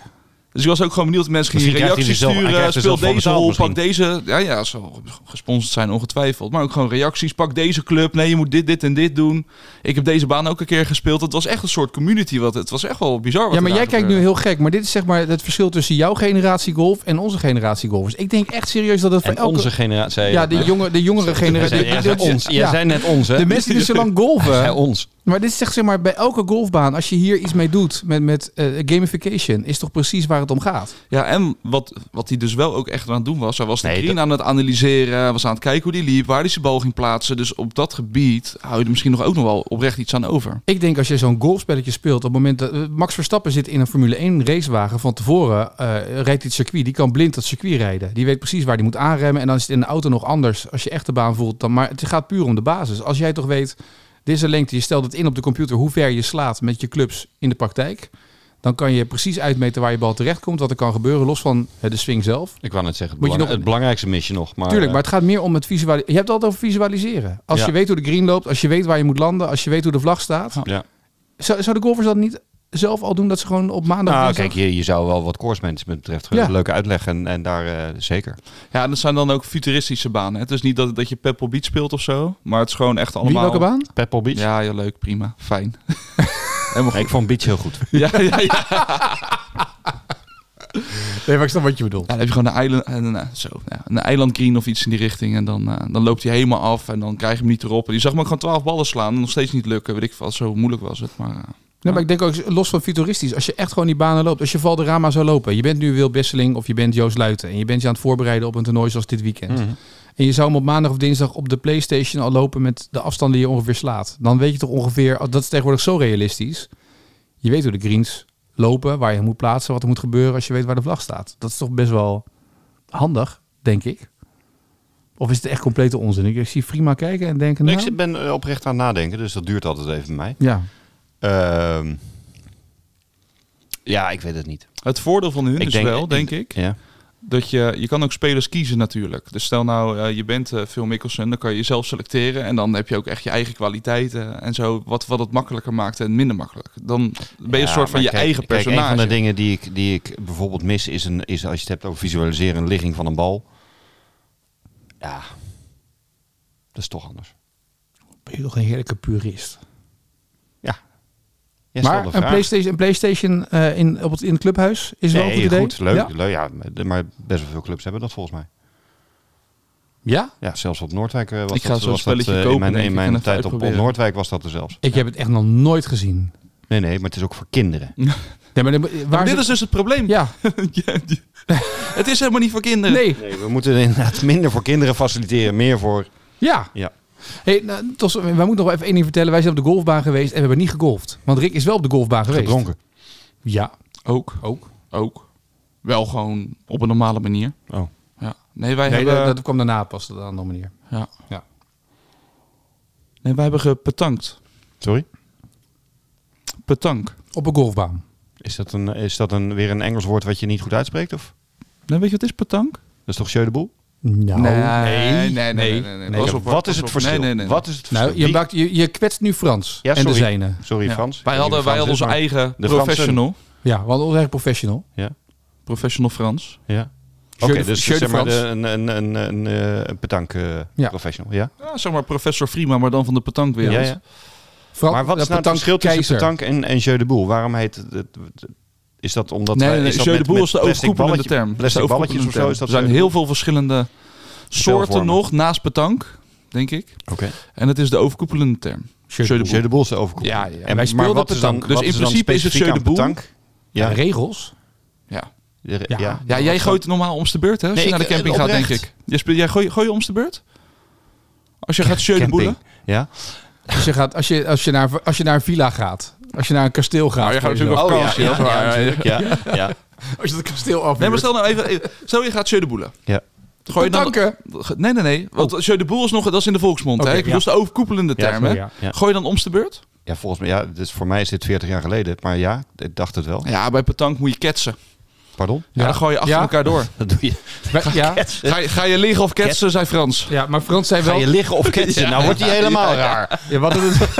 [SPEAKER 1] Dus ik was ook gewoon benieuwd. Mensen gingen
[SPEAKER 3] Misschien krijgt
[SPEAKER 1] reacties
[SPEAKER 3] hij er zelf- hij
[SPEAKER 1] sturen.
[SPEAKER 3] krijgt er
[SPEAKER 1] Speel
[SPEAKER 3] zelf voor
[SPEAKER 1] deze
[SPEAKER 3] betaald
[SPEAKER 1] hol,
[SPEAKER 3] misschien.
[SPEAKER 1] pak deze. Ja, ja, zal gesponsord zijn ongetwijfeld. Maar ook gewoon reacties. Pak deze club. Nee, je moet dit, dit en dit doen. Ik heb deze baan ook een keer gespeeld. Het was echt een soort community. Wat, het was echt wel bizar. Wat
[SPEAKER 2] Ja,
[SPEAKER 1] er
[SPEAKER 2] maar jij
[SPEAKER 1] daar
[SPEAKER 2] kijkt nu
[SPEAKER 1] gebeurde.
[SPEAKER 2] heel gek. Maar dit is zeg maar het verschil tussen jouw generatie golf en onze generatie golfers. Ik denk echt serieus dat het voor
[SPEAKER 3] En
[SPEAKER 2] elke...
[SPEAKER 3] onze generatie. zei je
[SPEAKER 2] Ja,
[SPEAKER 3] dat
[SPEAKER 2] de,
[SPEAKER 3] nou?
[SPEAKER 2] jonge, de jongere
[SPEAKER 3] Jij
[SPEAKER 2] generatie.
[SPEAKER 3] zei- jij zei ons. Jij
[SPEAKER 2] Ja.
[SPEAKER 3] zei net ons, hè?
[SPEAKER 2] De mensen die dus zo lang
[SPEAKER 3] Jij zei
[SPEAKER 2] golven.
[SPEAKER 3] ons.
[SPEAKER 2] Maar dit is echt zeg maar bij elke golfbaan, als je hier iets mee doet met, met eh, gamification, is toch precies waar het om gaat.
[SPEAKER 1] Ja, en wat, wat hij dus wel ook echt aan het doen was. Hij was de
[SPEAKER 3] Nee,
[SPEAKER 1] green aan het analyseren. Was aan het kijken hoe die liep. Waar hij zijn bal ging plaatsen. Dus op dat gebied hou je er misschien nog ook nog wel oprecht iets aan over.
[SPEAKER 2] Ik denk als je zo'n golfspelletje speelt, op het moment dat eh, Max Verstappen zit in een Formule 1 racewagen van tevoren, eh, rijdt hij het circuit, die kan blind dat circuit rijden. Die weet precies waar hij moet aanremmen en dan is het in de auto nog anders als je echt de baan voelt. Dan, maar het gaat puur om de basis. Als jij toch weet, dit is de lengte, je stelt het in op de computer hoe ver je slaat met je clubs in de praktijk, dan kan je precies uitmeten waar je bal terechtkomt, wat er kan gebeuren, los van eh, de swing zelf.
[SPEAKER 3] Ik wou net zeggen, het,
[SPEAKER 2] Moet je
[SPEAKER 3] belang-
[SPEAKER 2] nog-
[SPEAKER 3] het belangrijkste misje nog. Maar,
[SPEAKER 2] Tuurlijk,
[SPEAKER 3] eh,
[SPEAKER 2] maar het gaat meer om het visualiseren. Je hebt het altijd over visualiseren. Als
[SPEAKER 3] Ja.
[SPEAKER 2] je weet hoe de green loopt, als je weet waar je moet landen, als je weet hoe de vlag staat.
[SPEAKER 3] eh, Ja.
[SPEAKER 2] Zou, zou de golfers dat niet zelf al doen dat ze gewoon op maandag...
[SPEAKER 3] Nou,
[SPEAKER 2] dinsdag-
[SPEAKER 3] kijk, je, je zou wel wat course management betreft
[SPEAKER 2] Ja.
[SPEAKER 3] een leuke uitleg en, en daar eh, zeker.
[SPEAKER 1] Ja, en dat zijn dan ook futuristische banen. hè. Het is niet dat, dat je Pebble Beach speelt of zo. Maar het is gewoon echt
[SPEAKER 2] Wie,
[SPEAKER 1] allemaal...
[SPEAKER 2] welke baan?
[SPEAKER 3] Pebble Beach.
[SPEAKER 1] Ja, ja, leuk, prima, fijn.
[SPEAKER 3] Ik vond Beach heel goed.
[SPEAKER 1] ja, ja, ja.
[SPEAKER 2] Nee, maar ik snap wat je bedoelt.
[SPEAKER 1] Dan heb je gewoon een eiland, en, eh, zo, ja, een eiland green of iets in die richting. En dan, eh, dan loopt hij helemaal af en dan krijg je hem niet erop. En die zag me ook gewoon twaalf ballen slaan en nog steeds niet lukken. Weet ik veel, zo moeilijk was het. Maar, eh,
[SPEAKER 2] Nee,
[SPEAKER 3] Ah.
[SPEAKER 2] maar ik denk ook, los van futuristisch, als je echt gewoon die banen loopt, als je Valderrama zou lopen, je bent nu Wil Besseling of je bent Joost Luiten en je bent je aan het voorbereiden op een toernooi zoals dit weekend.
[SPEAKER 3] Mhm.
[SPEAKER 2] En je zou hem op maandag of dinsdag op de Playstation al lopen met de afstanden oh, die je ongeveer slaat. Dan weet je toch ongeveer, dat is tegenwoordig zo realistisch. Je weet hoe de greens lopen, waar je moet plaatsen, wat er moet gebeuren als je weet waar de vlag staat. Dat is toch best wel handig, denk ik. Of is het echt complete onzin? Ik, ik zie Frima kijken en denken...
[SPEAKER 3] Nee,
[SPEAKER 2] Nou,
[SPEAKER 3] ik zit- ben eh, oprecht aan het nadenken, dus dat duurt altijd even bij mij.
[SPEAKER 2] Ja,
[SPEAKER 3] Ehm, ja, ik weet het niet.
[SPEAKER 1] Het voordeel van hun
[SPEAKER 3] Ik
[SPEAKER 1] is
[SPEAKER 3] denk-
[SPEAKER 1] wel,
[SPEAKER 3] ik-
[SPEAKER 1] denk ik,
[SPEAKER 3] Ja.
[SPEAKER 1] dat je, je kan ook spelers kiezen natuurlijk. Dus stel nou, eh, je bent eh, Phil Mickelson, dan kan je jezelf selecteren. En dan heb je ook echt je eigen kwaliteiten en zo. Wat, wat het makkelijker maakt en minder makkelijk. Dan ben je een
[SPEAKER 3] Ja,
[SPEAKER 1] soort van
[SPEAKER 3] maar
[SPEAKER 1] je
[SPEAKER 3] kijk-
[SPEAKER 1] eigen
[SPEAKER 3] kijk,
[SPEAKER 1] personage.
[SPEAKER 3] een van de dingen die ik, die ik bijvoorbeeld mis is, een, is als je het hebt over visualiseren, een ligging van een bal. Ja, dat is toch anders.
[SPEAKER 2] ben je toch een heerlijke purist.
[SPEAKER 3] Ja. Jij stelde
[SPEAKER 2] maar een
[SPEAKER 3] vraag.
[SPEAKER 2] Playstation, een PlayStation eh, in, op het, in het clubhuis is wel een goed
[SPEAKER 3] Nee,
[SPEAKER 2] idee.
[SPEAKER 3] goed, leuk.
[SPEAKER 2] Ja?
[SPEAKER 3] leuk ja, maar best wel veel clubs hebben dat volgens mij.
[SPEAKER 2] Ja?
[SPEAKER 3] Ja, zelfs op Noordwijk eh, was
[SPEAKER 1] Ik ga
[SPEAKER 3] dat
[SPEAKER 1] zo'n
[SPEAKER 3] was dat,
[SPEAKER 1] spelletje
[SPEAKER 3] eh,
[SPEAKER 1] kopen,
[SPEAKER 3] In mijn,
[SPEAKER 1] denk
[SPEAKER 3] in
[SPEAKER 1] ik, en
[SPEAKER 3] mijn
[SPEAKER 1] even
[SPEAKER 3] tijd op, op
[SPEAKER 1] uitproberen.
[SPEAKER 3] Noordwijk was dat er zelfs.
[SPEAKER 2] Ik heb het echt nog nooit gezien.
[SPEAKER 3] Nee, nee, maar het is ook voor kinderen.
[SPEAKER 2] Nee, maar, dan-
[SPEAKER 1] Maar
[SPEAKER 2] waar
[SPEAKER 1] dit
[SPEAKER 2] ze-
[SPEAKER 1] is dus het probleem.
[SPEAKER 2] Ja,
[SPEAKER 1] Ja, die- het is helemaal niet voor kinderen.
[SPEAKER 2] nee.
[SPEAKER 3] Nee, we moeten inderdaad minder voor kinderen faciliteren, meer voor...
[SPEAKER 2] Ja.
[SPEAKER 3] Ja.
[SPEAKER 2] Hey, nou, Tos, wij moeten nog wel even één ding vertellen. Wij zijn op de golfbaan geweest en we hebben niet gegolfd. Want Rick is wel op de golfbaan geweest.
[SPEAKER 3] Gedronken.
[SPEAKER 2] Ja,
[SPEAKER 1] Ook,
[SPEAKER 2] ook.
[SPEAKER 1] ook. Wel gewoon op een normale manier.
[SPEAKER 3] Oh.
[SPEAKER 1] Ja. Nee, wij
[SPEAKER 2] Nee,
[SPEAKER 1] hebben...
[SPEAKER 2] dat, dat kwam daarna pas op een andere manier.
[SPEAKER 1] Ja.
[SPEAKER 2] Ja.
[SPEAKER 1] Nee, wij hebben gepetankt.
[SPEAKER 3] Sorry?
[SPEAKER 1] Petank.
[SPEAKER 2] Op een golfbaan.
[SPEAKER 3] Is dat, een, is dat een, weer een Engels woord wat je niet goed uitspreekt? Of?
[SPEAKER 1] Nee, weet je wat is petank?
[SPEAKER 3] Dat is toch jeu de boel?
[SPEAKER 2] Nou,
[SPEAKER 1] Oh, nee, nee, nee, nee.
[SPEAKER 2] Nee.
[SPEAKER 1] Pas
[SPEAKER 3] Ja,
[SPEAKER 1] op,
[SPEAKER 3] wat
[SPEAKER 1] pas
[SPEAKER 3] is het
[SPEAKER 1] op.
[SPEAKER 3] verschil?
[SPEAKER 1] Nee, nee, nee.
[SPEAKER 3] Wat is het verschil?
[SPEAKER 2] Nou, je,
[SPEAKER 3] Wie-
[SPEAKER 2] maakt- je, je kwetst nu Frans
[SPEAKER 3] Ja,
[SPEAKER 2] en de
[SPEAKER 3] sorry.
[SPEAKER 2] zijne.
[SPEAKER 3] Sorry
[SPEAKER 1] Ja.
[SPEAKER 3] Frans.
[SPEAKER 1] Wij
[SPEAKER 3] Ik weet
[SPEAKER 1] hadden,
[SPEAKER 3] niet
[SPEAKER 1] wij hadden
[SPEAKER 3] wie Frans
[SPEAKER 1] onze
[SPEAKER 3] is,
[SPEAKER 1] eigen
[SPEAKER 3] de
[SPEAKER 1] professional.
[SPEAKER 2] Ja, want ons eigen professional.
[SPEAKER 1] Professional Frans.
[SPEAKER 3] maar- Ja. Oké,
[SPEAKER 2] Jeu de-
[SPEAKER 3] dus
[SPEAKER 2] Jeu de
[SPEAKER 3] zeg maar de,
[SPEAKER 2] Frans.
[SPEAKER 3] een, een, een, een, eh, een petank eh,
[SPEAKER 2] Ja.
[SPEAKER 3] professional. Ja?
[SPEAKER 1] Ja, zeg maar professor Frima, maar dan van de
[SPEAKER 3] Ja,
[SPEAKER 1] petankwereld.
[SPEAKER 3] ja.
[SPEAKER 2] Fran-
[SPEAKER 3] Maar wat is
[SPEAKER 2] eh,
[SPEAKER 3] nou het
[SPEAKER 2] petank
[SPEAKER 3] verschil tussen
[SPEAKER 2] keizer.
[SPEAKER 3] petank en, en jeu de boel? Waarom heet het... het- het- Is dat omdat...
[SPEAKER 1] Nee,
[SPEAKER 3] wij-
[SPEAKER 1] nee,
[SPEAKER 3] is dat
[SPEAKER 1] nee, jeu de
[SPEAKER 3] met-
[SPEAKER 1] boel
[SPEAKER 3] met
[SPEAKER 1] is de
[SPEAKER 3] plastic
[SPEAKER 1] overkoepelende
[SPEAKER 3] balletje-
[SPEAKER 1] term.
[SPEAKER 3] Plastic
[SPEAKER 1] Dat is de
[SPEAKER 3] balletjes of
[SPEAKER 1] overkoepelende
[SPEAKER 3] zo
[SPEAKER 1] term.
[SPEAKER 3] is dat
[SPEAKER 1] Er zijn
[SPEAKER 3] jeu de
[SPEAKER 1] heel veel verschillende soorten
[SPEAKER 3] Spelvormen.
[SPEAKER 1] nog naast petank, denk ik.
[SPEAKER 3] boel. Oké.
[SPEAKER 1] En het is de overkoepelende term.
[SPEAKER 2] Jeu de
[SPEAKER 1] Jeu de
[SPEAKER 3] Jeu de boel is de overkoepel.
[SPEAKER 2] Ja, ja.
[SPEAKER 3] En
[SPEAKER 2] Wij speelden
[SPEAKER 3] wat is dan-
[SPEAKER 2] petank.
[SPEAKER 3] wat
[SPEAKER 1] Dus in
[SPEAKER 3] is dan
[SPEAKER 1] principe is het
[SPEAKER 3] specifiek
[SPEAKER 1] jeu de
[SPEAKER 3] aan
[SPEAKER 1] boel?
[SPEAKER 3] petank?
[SPEAKER 2] Ja,
[SPEAKER 3] Ja.
[SPEAKER 2] regels.
[SPEAKER 1] Ja,
[SPEAKER 3] Ja.
[SPEAKER 2] Ja.
[SPEAKER 3] ja.
[SPEAKER 1] ja jij gooit normaal om de beurt, hè? Als
[SPEAKER 3] Nee,
[SPEAKER 1] je naar de
[SPEAKER 3] ik, eh,
[SPEAKER 1] camping gaat, denk
[SPEAKER 3] oprecht.
[SPEAKER 1] ik. Jij, speel, jij gooi, gooi je om de beurt? Als je gaat jeu de boelen?
[SPEAKER 3] Camping. Ja.
[SPEAKER 2] Als Dus je, gaat, als, je, als, je naar, als je naar een villa gaat. Als je naar een kasteel gaat.
[SPEAKER 1] Nou, je gaat
[SPEAKER 2] voor
[SPEAKER 1] natuurlijk
[SPEAKER 2] jezelf.
[SPEAKER 1] wel-
[SPEAKER 3] Oh, ja,
[SPEAKER 1] Vakantie, dat is
[SPEAKER 3] ja,
[SPEAKER 1] waar,
[SPEAKER 3] ja,
[SPEAKER 1] ja,
[SPEAKER 3] natuurlijk, ja, ja.
[SPEAKER 2] Als je het kasteel af.
[SPEAKER 1] Nee, maar stel nou even... Stel je gaat jeu de boelen.
[SPEAKER 3] Ja.
[SPEAKER 1] Gooi je
[SPEAKER 3] Oh,
[SPEAKER 1] dan... Nee, nee, nee. Want jeu de boel is nog... Dat is in de volksmond,
[SPEAKER 2] Oké,
[SPEAKER 1] hè? Ik bedoel, dat is de overkoepelende
[SPEAKER 3] Ja,
[SPEAKER 1] term, hè?
[SPEAKER 2] ja,
[SPEAKER 3] ja.
[SPEAKER 1] Gooi je dan om de beurt?
[SPEAKER 3] Ja, volgens mij, ja, dus voor mij is dit 40 jaar geleden, maar ja, ik dacht het wel.
[SPEAKER 1] Ja, bij petank moet je ketsen.
[SPEAKER 3] Pardon?
[SPEAKER 1] Ja,
[SPEAKER 2] Ja.
[SPEAKER 1] dan gooi je achter
[SPEAKER 2] Ja.
[SPEAKER 1] elkaar door.
[SPEAKER 3] Dat doe je.
[SPEAKER 2] Wij- Ja,
[SPEAKER 1] Ga je, ga je liggen of ketsen, zei Frans.
[SPEAKER 2] ja, maar Frans zei
[SPEAKER 3] Ga
[SPEAKER 2] wel...
[SPEAKER 3] je liggen of ketsen? nou wordt hij helemaal raar.
[SPEAKER 2] Ja, wat het...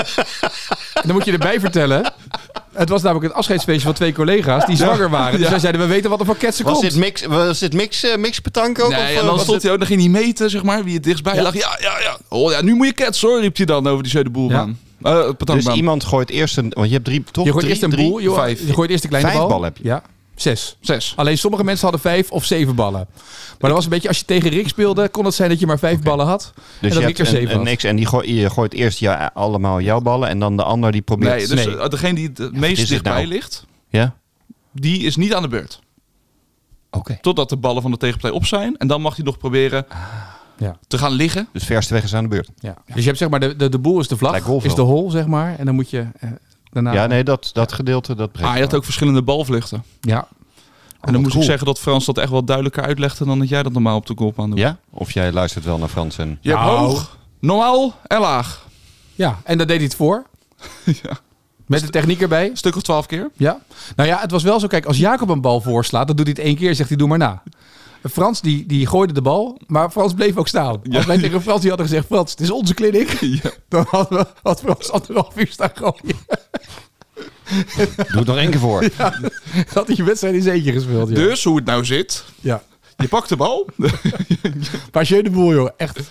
[SPEAKER 2] En dan moet je erbij vertellen. Het was namelijk het afscheidsfeestje van twee collega's die zwanger waren. Dus zij zeiden, we weten wat er van ketsen
[SPEAKER 3] Was
[SPEAKER 2] komt.
[SPEAKER 3] dit mix, was dit mix, eh, mixpetank ook? of,
[SPEAKER 1] Nee,
[SPEAKER 3] eh,
[SPEAKER 1] en dan
[SPEAKER 3] was
[SPEAKER 1] stond
[SPEAKER 3] het-
[SPEAKER 1] hij ook, dan ging hij meten, zeg maar, wie het dichtstbij lag. Ja, ja, ja. Oh ja, nu moet je ketsen hoor, riep hij dan over die Zuiderboelbaan. Eh
[SPEAKER 3] Dus
[SPEAKER 1] petankbaan.
[SPEAKER 3] iemand gooit eerst een, want je hebt drie, toch?
[SPEAKER 2] je gooit
[SPEAKER 3] drie,
[SPEAKER 2] eerst een
[SPEAKER 3] drie,
[SPEAKER 2] boel, je,
[SPEAKER 3] vijf.
[SPEAKER 2] je gooit eerst een kleine
[SPEAKER 3] Vijf
[SPEAKER 2] bal.
[SPEAKER 3] ballen heb je.
[SPEAKER 2] Ja, zes.
[SPEAKER 1] Zes.
[SPEAKER 2] Alleen sommige mensen hadden vijf of zeven ballen. Maar dat was een beetje, als je tegen Rick speelde, kon het zijn dat je maar vijf ballen had.
[SPEAKER 3] Dus
[SPEAKER 2] en dat Rick
[SPEAKER 3] je
[SPEAKER 2] er
[SPEAKER 3] hebt een,
[SPEAKER 2] zeven
[SPEAKER 3] een
[SPEAKER 2] had.
[SPEAKER 3] niks en die gooi, je gooit eerst ja, allemaal jouw ballen en dan de ander die probeert.
[SPEAKER 1] Nee, dus
[SPEAKER 2] Nee.
[SPEAKER 1] eh, degene die het
[SPEAKER 3] wat is
[SPEAKER 1] meest
[SPEAKER 3] dit
[SPEAKER 1] dichtbij
[SPEAKER 3] nou?
[SPEAKER 1] ligt,
[SPEAKER 3] Ja.
[SPEAKER 1] die is niet aan de beurt.
[SPEAKER 3] Oké.
[SPEAKER 1] Totdat de ballen van de tegenpartij op zijn. En dan mag hij nog proberen
[SPEAKER 2] Ja.
[SPEAKER 1] te gaan liggen.
[SPEAKER 3] Dus verste weg is aan de beurt.
[SPEAKER 2] Ja. Dus je hebt zeg maar, de, de, de boel is de
[SPEAKER 3] Lijkt
[SPEAKER 2] vlag,
[SPEAKER 3] golf
[SPEAKER 2] is de
[SPEAKER 3] wel.
[SPEAKER 2] hol, zeg maar. En dan moet je eh, daarna...
[SPEAKER 3] ja, nee, dat, dat gedeelte dat breekt.
[SPEAKER 1] Ah, je had ook verschillende balvluchten.
[SPEAKER 2] Ja.
[SPEAKER 1] en dan moest
[SPEAKER 3] cool.
[SPEAKER 1] ik zeggen dat Frans dat echt wel duidelijker uitlegde dan dat jij dat normaal op de golfbaan doet.
[SPEAKER 3] Ja? Of jij luistert wel naar Frans en.
[SPEAKER 1] Je hebt
[SPEAKER 2] Nou.
[SPEAKER 1] hoog, normaal en laag.
[SPEAKER 2] ja, en daar deed hij het voor.
[SPEAKER 1] Ja.
[SPEAKER 2] Met de techniek erbij.
[SPEAKER 1] Een stuk of twaalf keer.
[SPEAKER 2] Ja. Nou ja, het was wel zo. Kijk, als Jacob een bal voorslaat, dan doet hij het één keer en zegt hij doe maar na. Frans die, die gooide de bal, maar Frans bleef ook staan. Als wij tegen Frans die hadden gezegd, Frans, het is onze kliniek. Dan had, we, had Frans anderhalf uur staan gooien.
[SPEAKER 3] Doe het nog één keer voor.
[SPEAKER 2] Dan Had hij je wedstrijd in eentje gespeeld. Ja.
[SPEAKER 1] Dus hoe het nou zit.
[SPEAKER 2] Ja.
[SPEAKER 1] Je pakt de bal.
[SPEAKER 2] Maar jeu de boel, joh. Echt.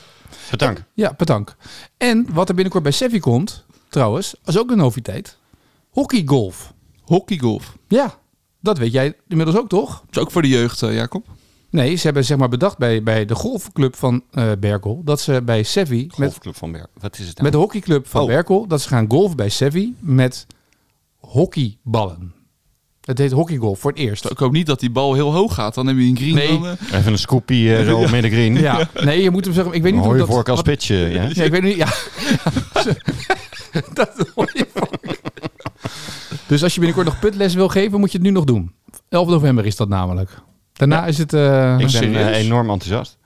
[SPEAKER 3] Bedankt.
[SPEAKER 2] Ja, bedankt. En wat er binnenkort bij Sevi komt, trouwens, is ook een noviteit. Hockeygolf.
[SPEAKER 1] Hockeygolf.
[SPEAKER 2] Ja, dat weet jij inmiddels ook, toch?
[SPEAKER 1] Dat is ook voor de jeugd, eh, Jacob.
[SPEAKER 2] Nee, ze hebben zeg maar bedacht bij, bij de golfclub van eh Berkel... dat ze bij Sevi met
[SPEAKER 3] Golfclub van Berg. Wat is het nou?
[SPEAKER 2] Met de hockeyclub van
[SPEAKER 3] Oh.
[SPEAKER 2] Berkel. Dat ze gaan golven bij Sevi met hockeyballen. Het heet hockeygolf voor het eerst.
[SPEAKER 1] Dus Ik hoop niet dat die bal heel hoog gaat. Dan heb je een green.
[SPEAKER 2] Nee.
[SPEAKER 1] dan, eh,
[SPEAKER 3] Even een scoopie eh, zo midden green.
[SPEAKER 2] Ja, nee, je moet hem zeggen. Ik weet
[SPEAKER 3] Dan
[SPEAKER 2] niet
[SPEAKER 3] hoor
[SPEAKER 2] hoe dat...
[SPEAKER 3] je voor als
[SPEAKER 2] wat-
[SPEAKER 3] pitchen. Ja.
[SPEAKER 2] Ja, ik weet niet. Ja. dat hoor je voor. Dus als je binnenkort nog putles wil geven, moet je het nu nog doen. 11 november is dat namelijk. Daarna is het... eh,
[SPEAKER 3] Ik ben
[SPEAKER 1] serieus?
[SPEAKER 3] eh, enorm enthousiast.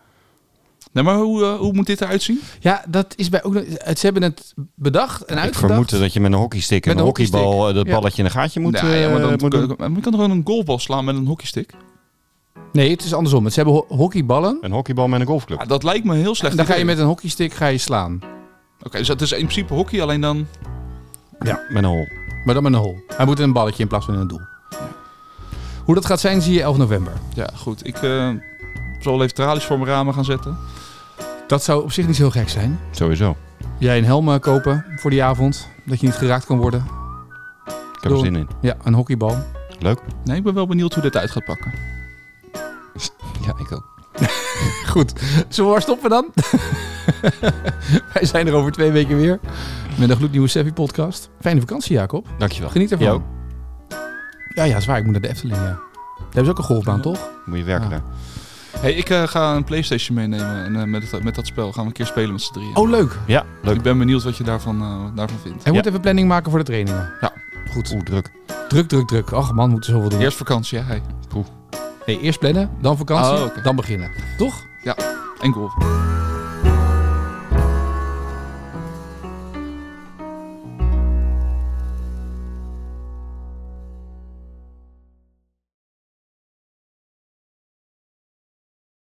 [SPEAKER 1] Nee, maar hoe, eh, hoe moet dit eruit zien?
[SPEAKER 2] Ja, dat is bij ook. nog- het- Ze hebben het bedacht en
[SPEAKER 3] Ik
[SPEAKER 2] uitgedacht.
[SPEAKER 3] vermoed dat je met een hockeystick
[SPEAKER 2] Met
[SPEAKER 3] en een
[SPEAKER 2] een
[SPEAKER 3] hockeybal eh, dat
[SPEAKER 2] Ja.
[SPEAKER 3] balletje in een gaatje moet,
[SPEAKER 1] Nou, ja, maar dan
[SPEAKER 3] eh, moet
[SPEAKER 1] kan,
[SPEAKER 3] doen.
[SPEAKER 1] maar je kan toch gewoon een golfbal slaan met een hockeystick?
[SPEAKER 2] Nee, het is andersom. Ze hebben ho- hockeyballen.
[SPEAKER 3] Een hockeybal met een golfclub.
[SPEAKER 1] Ja, dat lijkt me een heel slecht
[SPEAKER 2] En dan ga je
[SPEAKER 1] idee.
[SPEAKER 2] met een hockeystick ga je slaan.
[SPEAKER 1] Oké, dus het is in principe hockey, alleen dan...
[SPEAKER 3] Met een hol.
[SPEAKER 2] Maar dan met een hol. Hij moet in een balletje in plaats van in een doel. Hoe dat gaat zijn, zie je 11 november.
[SPEAKER 1] Ja, goed. Ik eh, zal wel even tralies voor mijn ramen gaan zetten.
[SPEAKER 2] Dat zou op zich niet zo heel gek zijn.
[SPEAKER 3] Sowieso.
[SPEAKER 2] Jij een helm eh, kopen voor die avond. Dat je niet geraakt kan worden.
[SPEAKER 3] Ik heb er
[SPEAKER 2] Door.
[SPEAKER 3] zin in.
[SPEAKER 2] Ja, een hockeybal.
[SPEAKER 3] Leuk.
[SPEAKER 1] Nee, ik ben wel benieuwd hoe dit uit gaat pakken.
[SPEAKER 3] Ja, ik ook.
[SPEAKER 2] Goed. Zullen we maar stoppen dan? Wij zijn er over twee weken weer. Met een gloednieuwe Sevi podcast. Fijne vakantie, Jacob.
[SPEAKER 3] Dankjewel.
[SPEAKER 2] Geniet ervan.
[SPEAKER 3] Jij ook.
[SPEAKER 2] Ja, ja, zwaar. Ik moet naar de Efteling, ja. Daar hebben ze ook een golfbaan, toch?
[SPEAKER 3] Moet je werken
[SPEAKER 2] Ah.
[SPEAKER 3] daar.
[SPEAKER 1] Hey, ik eh, ga een Playstation meenemen en eh, met, het- met dat spel gaan we een keer spelen met z'n drieën.
[SPEAKER 2] Oh, leuk. En
[SPEAKER 3] Ja, leuk.
[SPEAKER 1] Ik ben benieuwd wat je daarvan, eh, daarvan vindt.
[SPEAKER 2] we moeten even planning maken voor de trainingen.
[SPEAKER 1] Ja.
[SPEAKER 2] Goed.
[SPEAKER 3] Oeh, druk.
[SPEAKER 2] Druk, druk, druk. Ach man, we moeten zoveel doen.
[SPEAKER 1] Eerst vakantie, hè? Hey.
[SPEAKER 2] Nee, eerst plannen, dan vakantie,
[SPEAKER 1] Oh, oké.
[SPEAKER 2] dan beginnen. Toch?
[SPEAKER 1] En golf.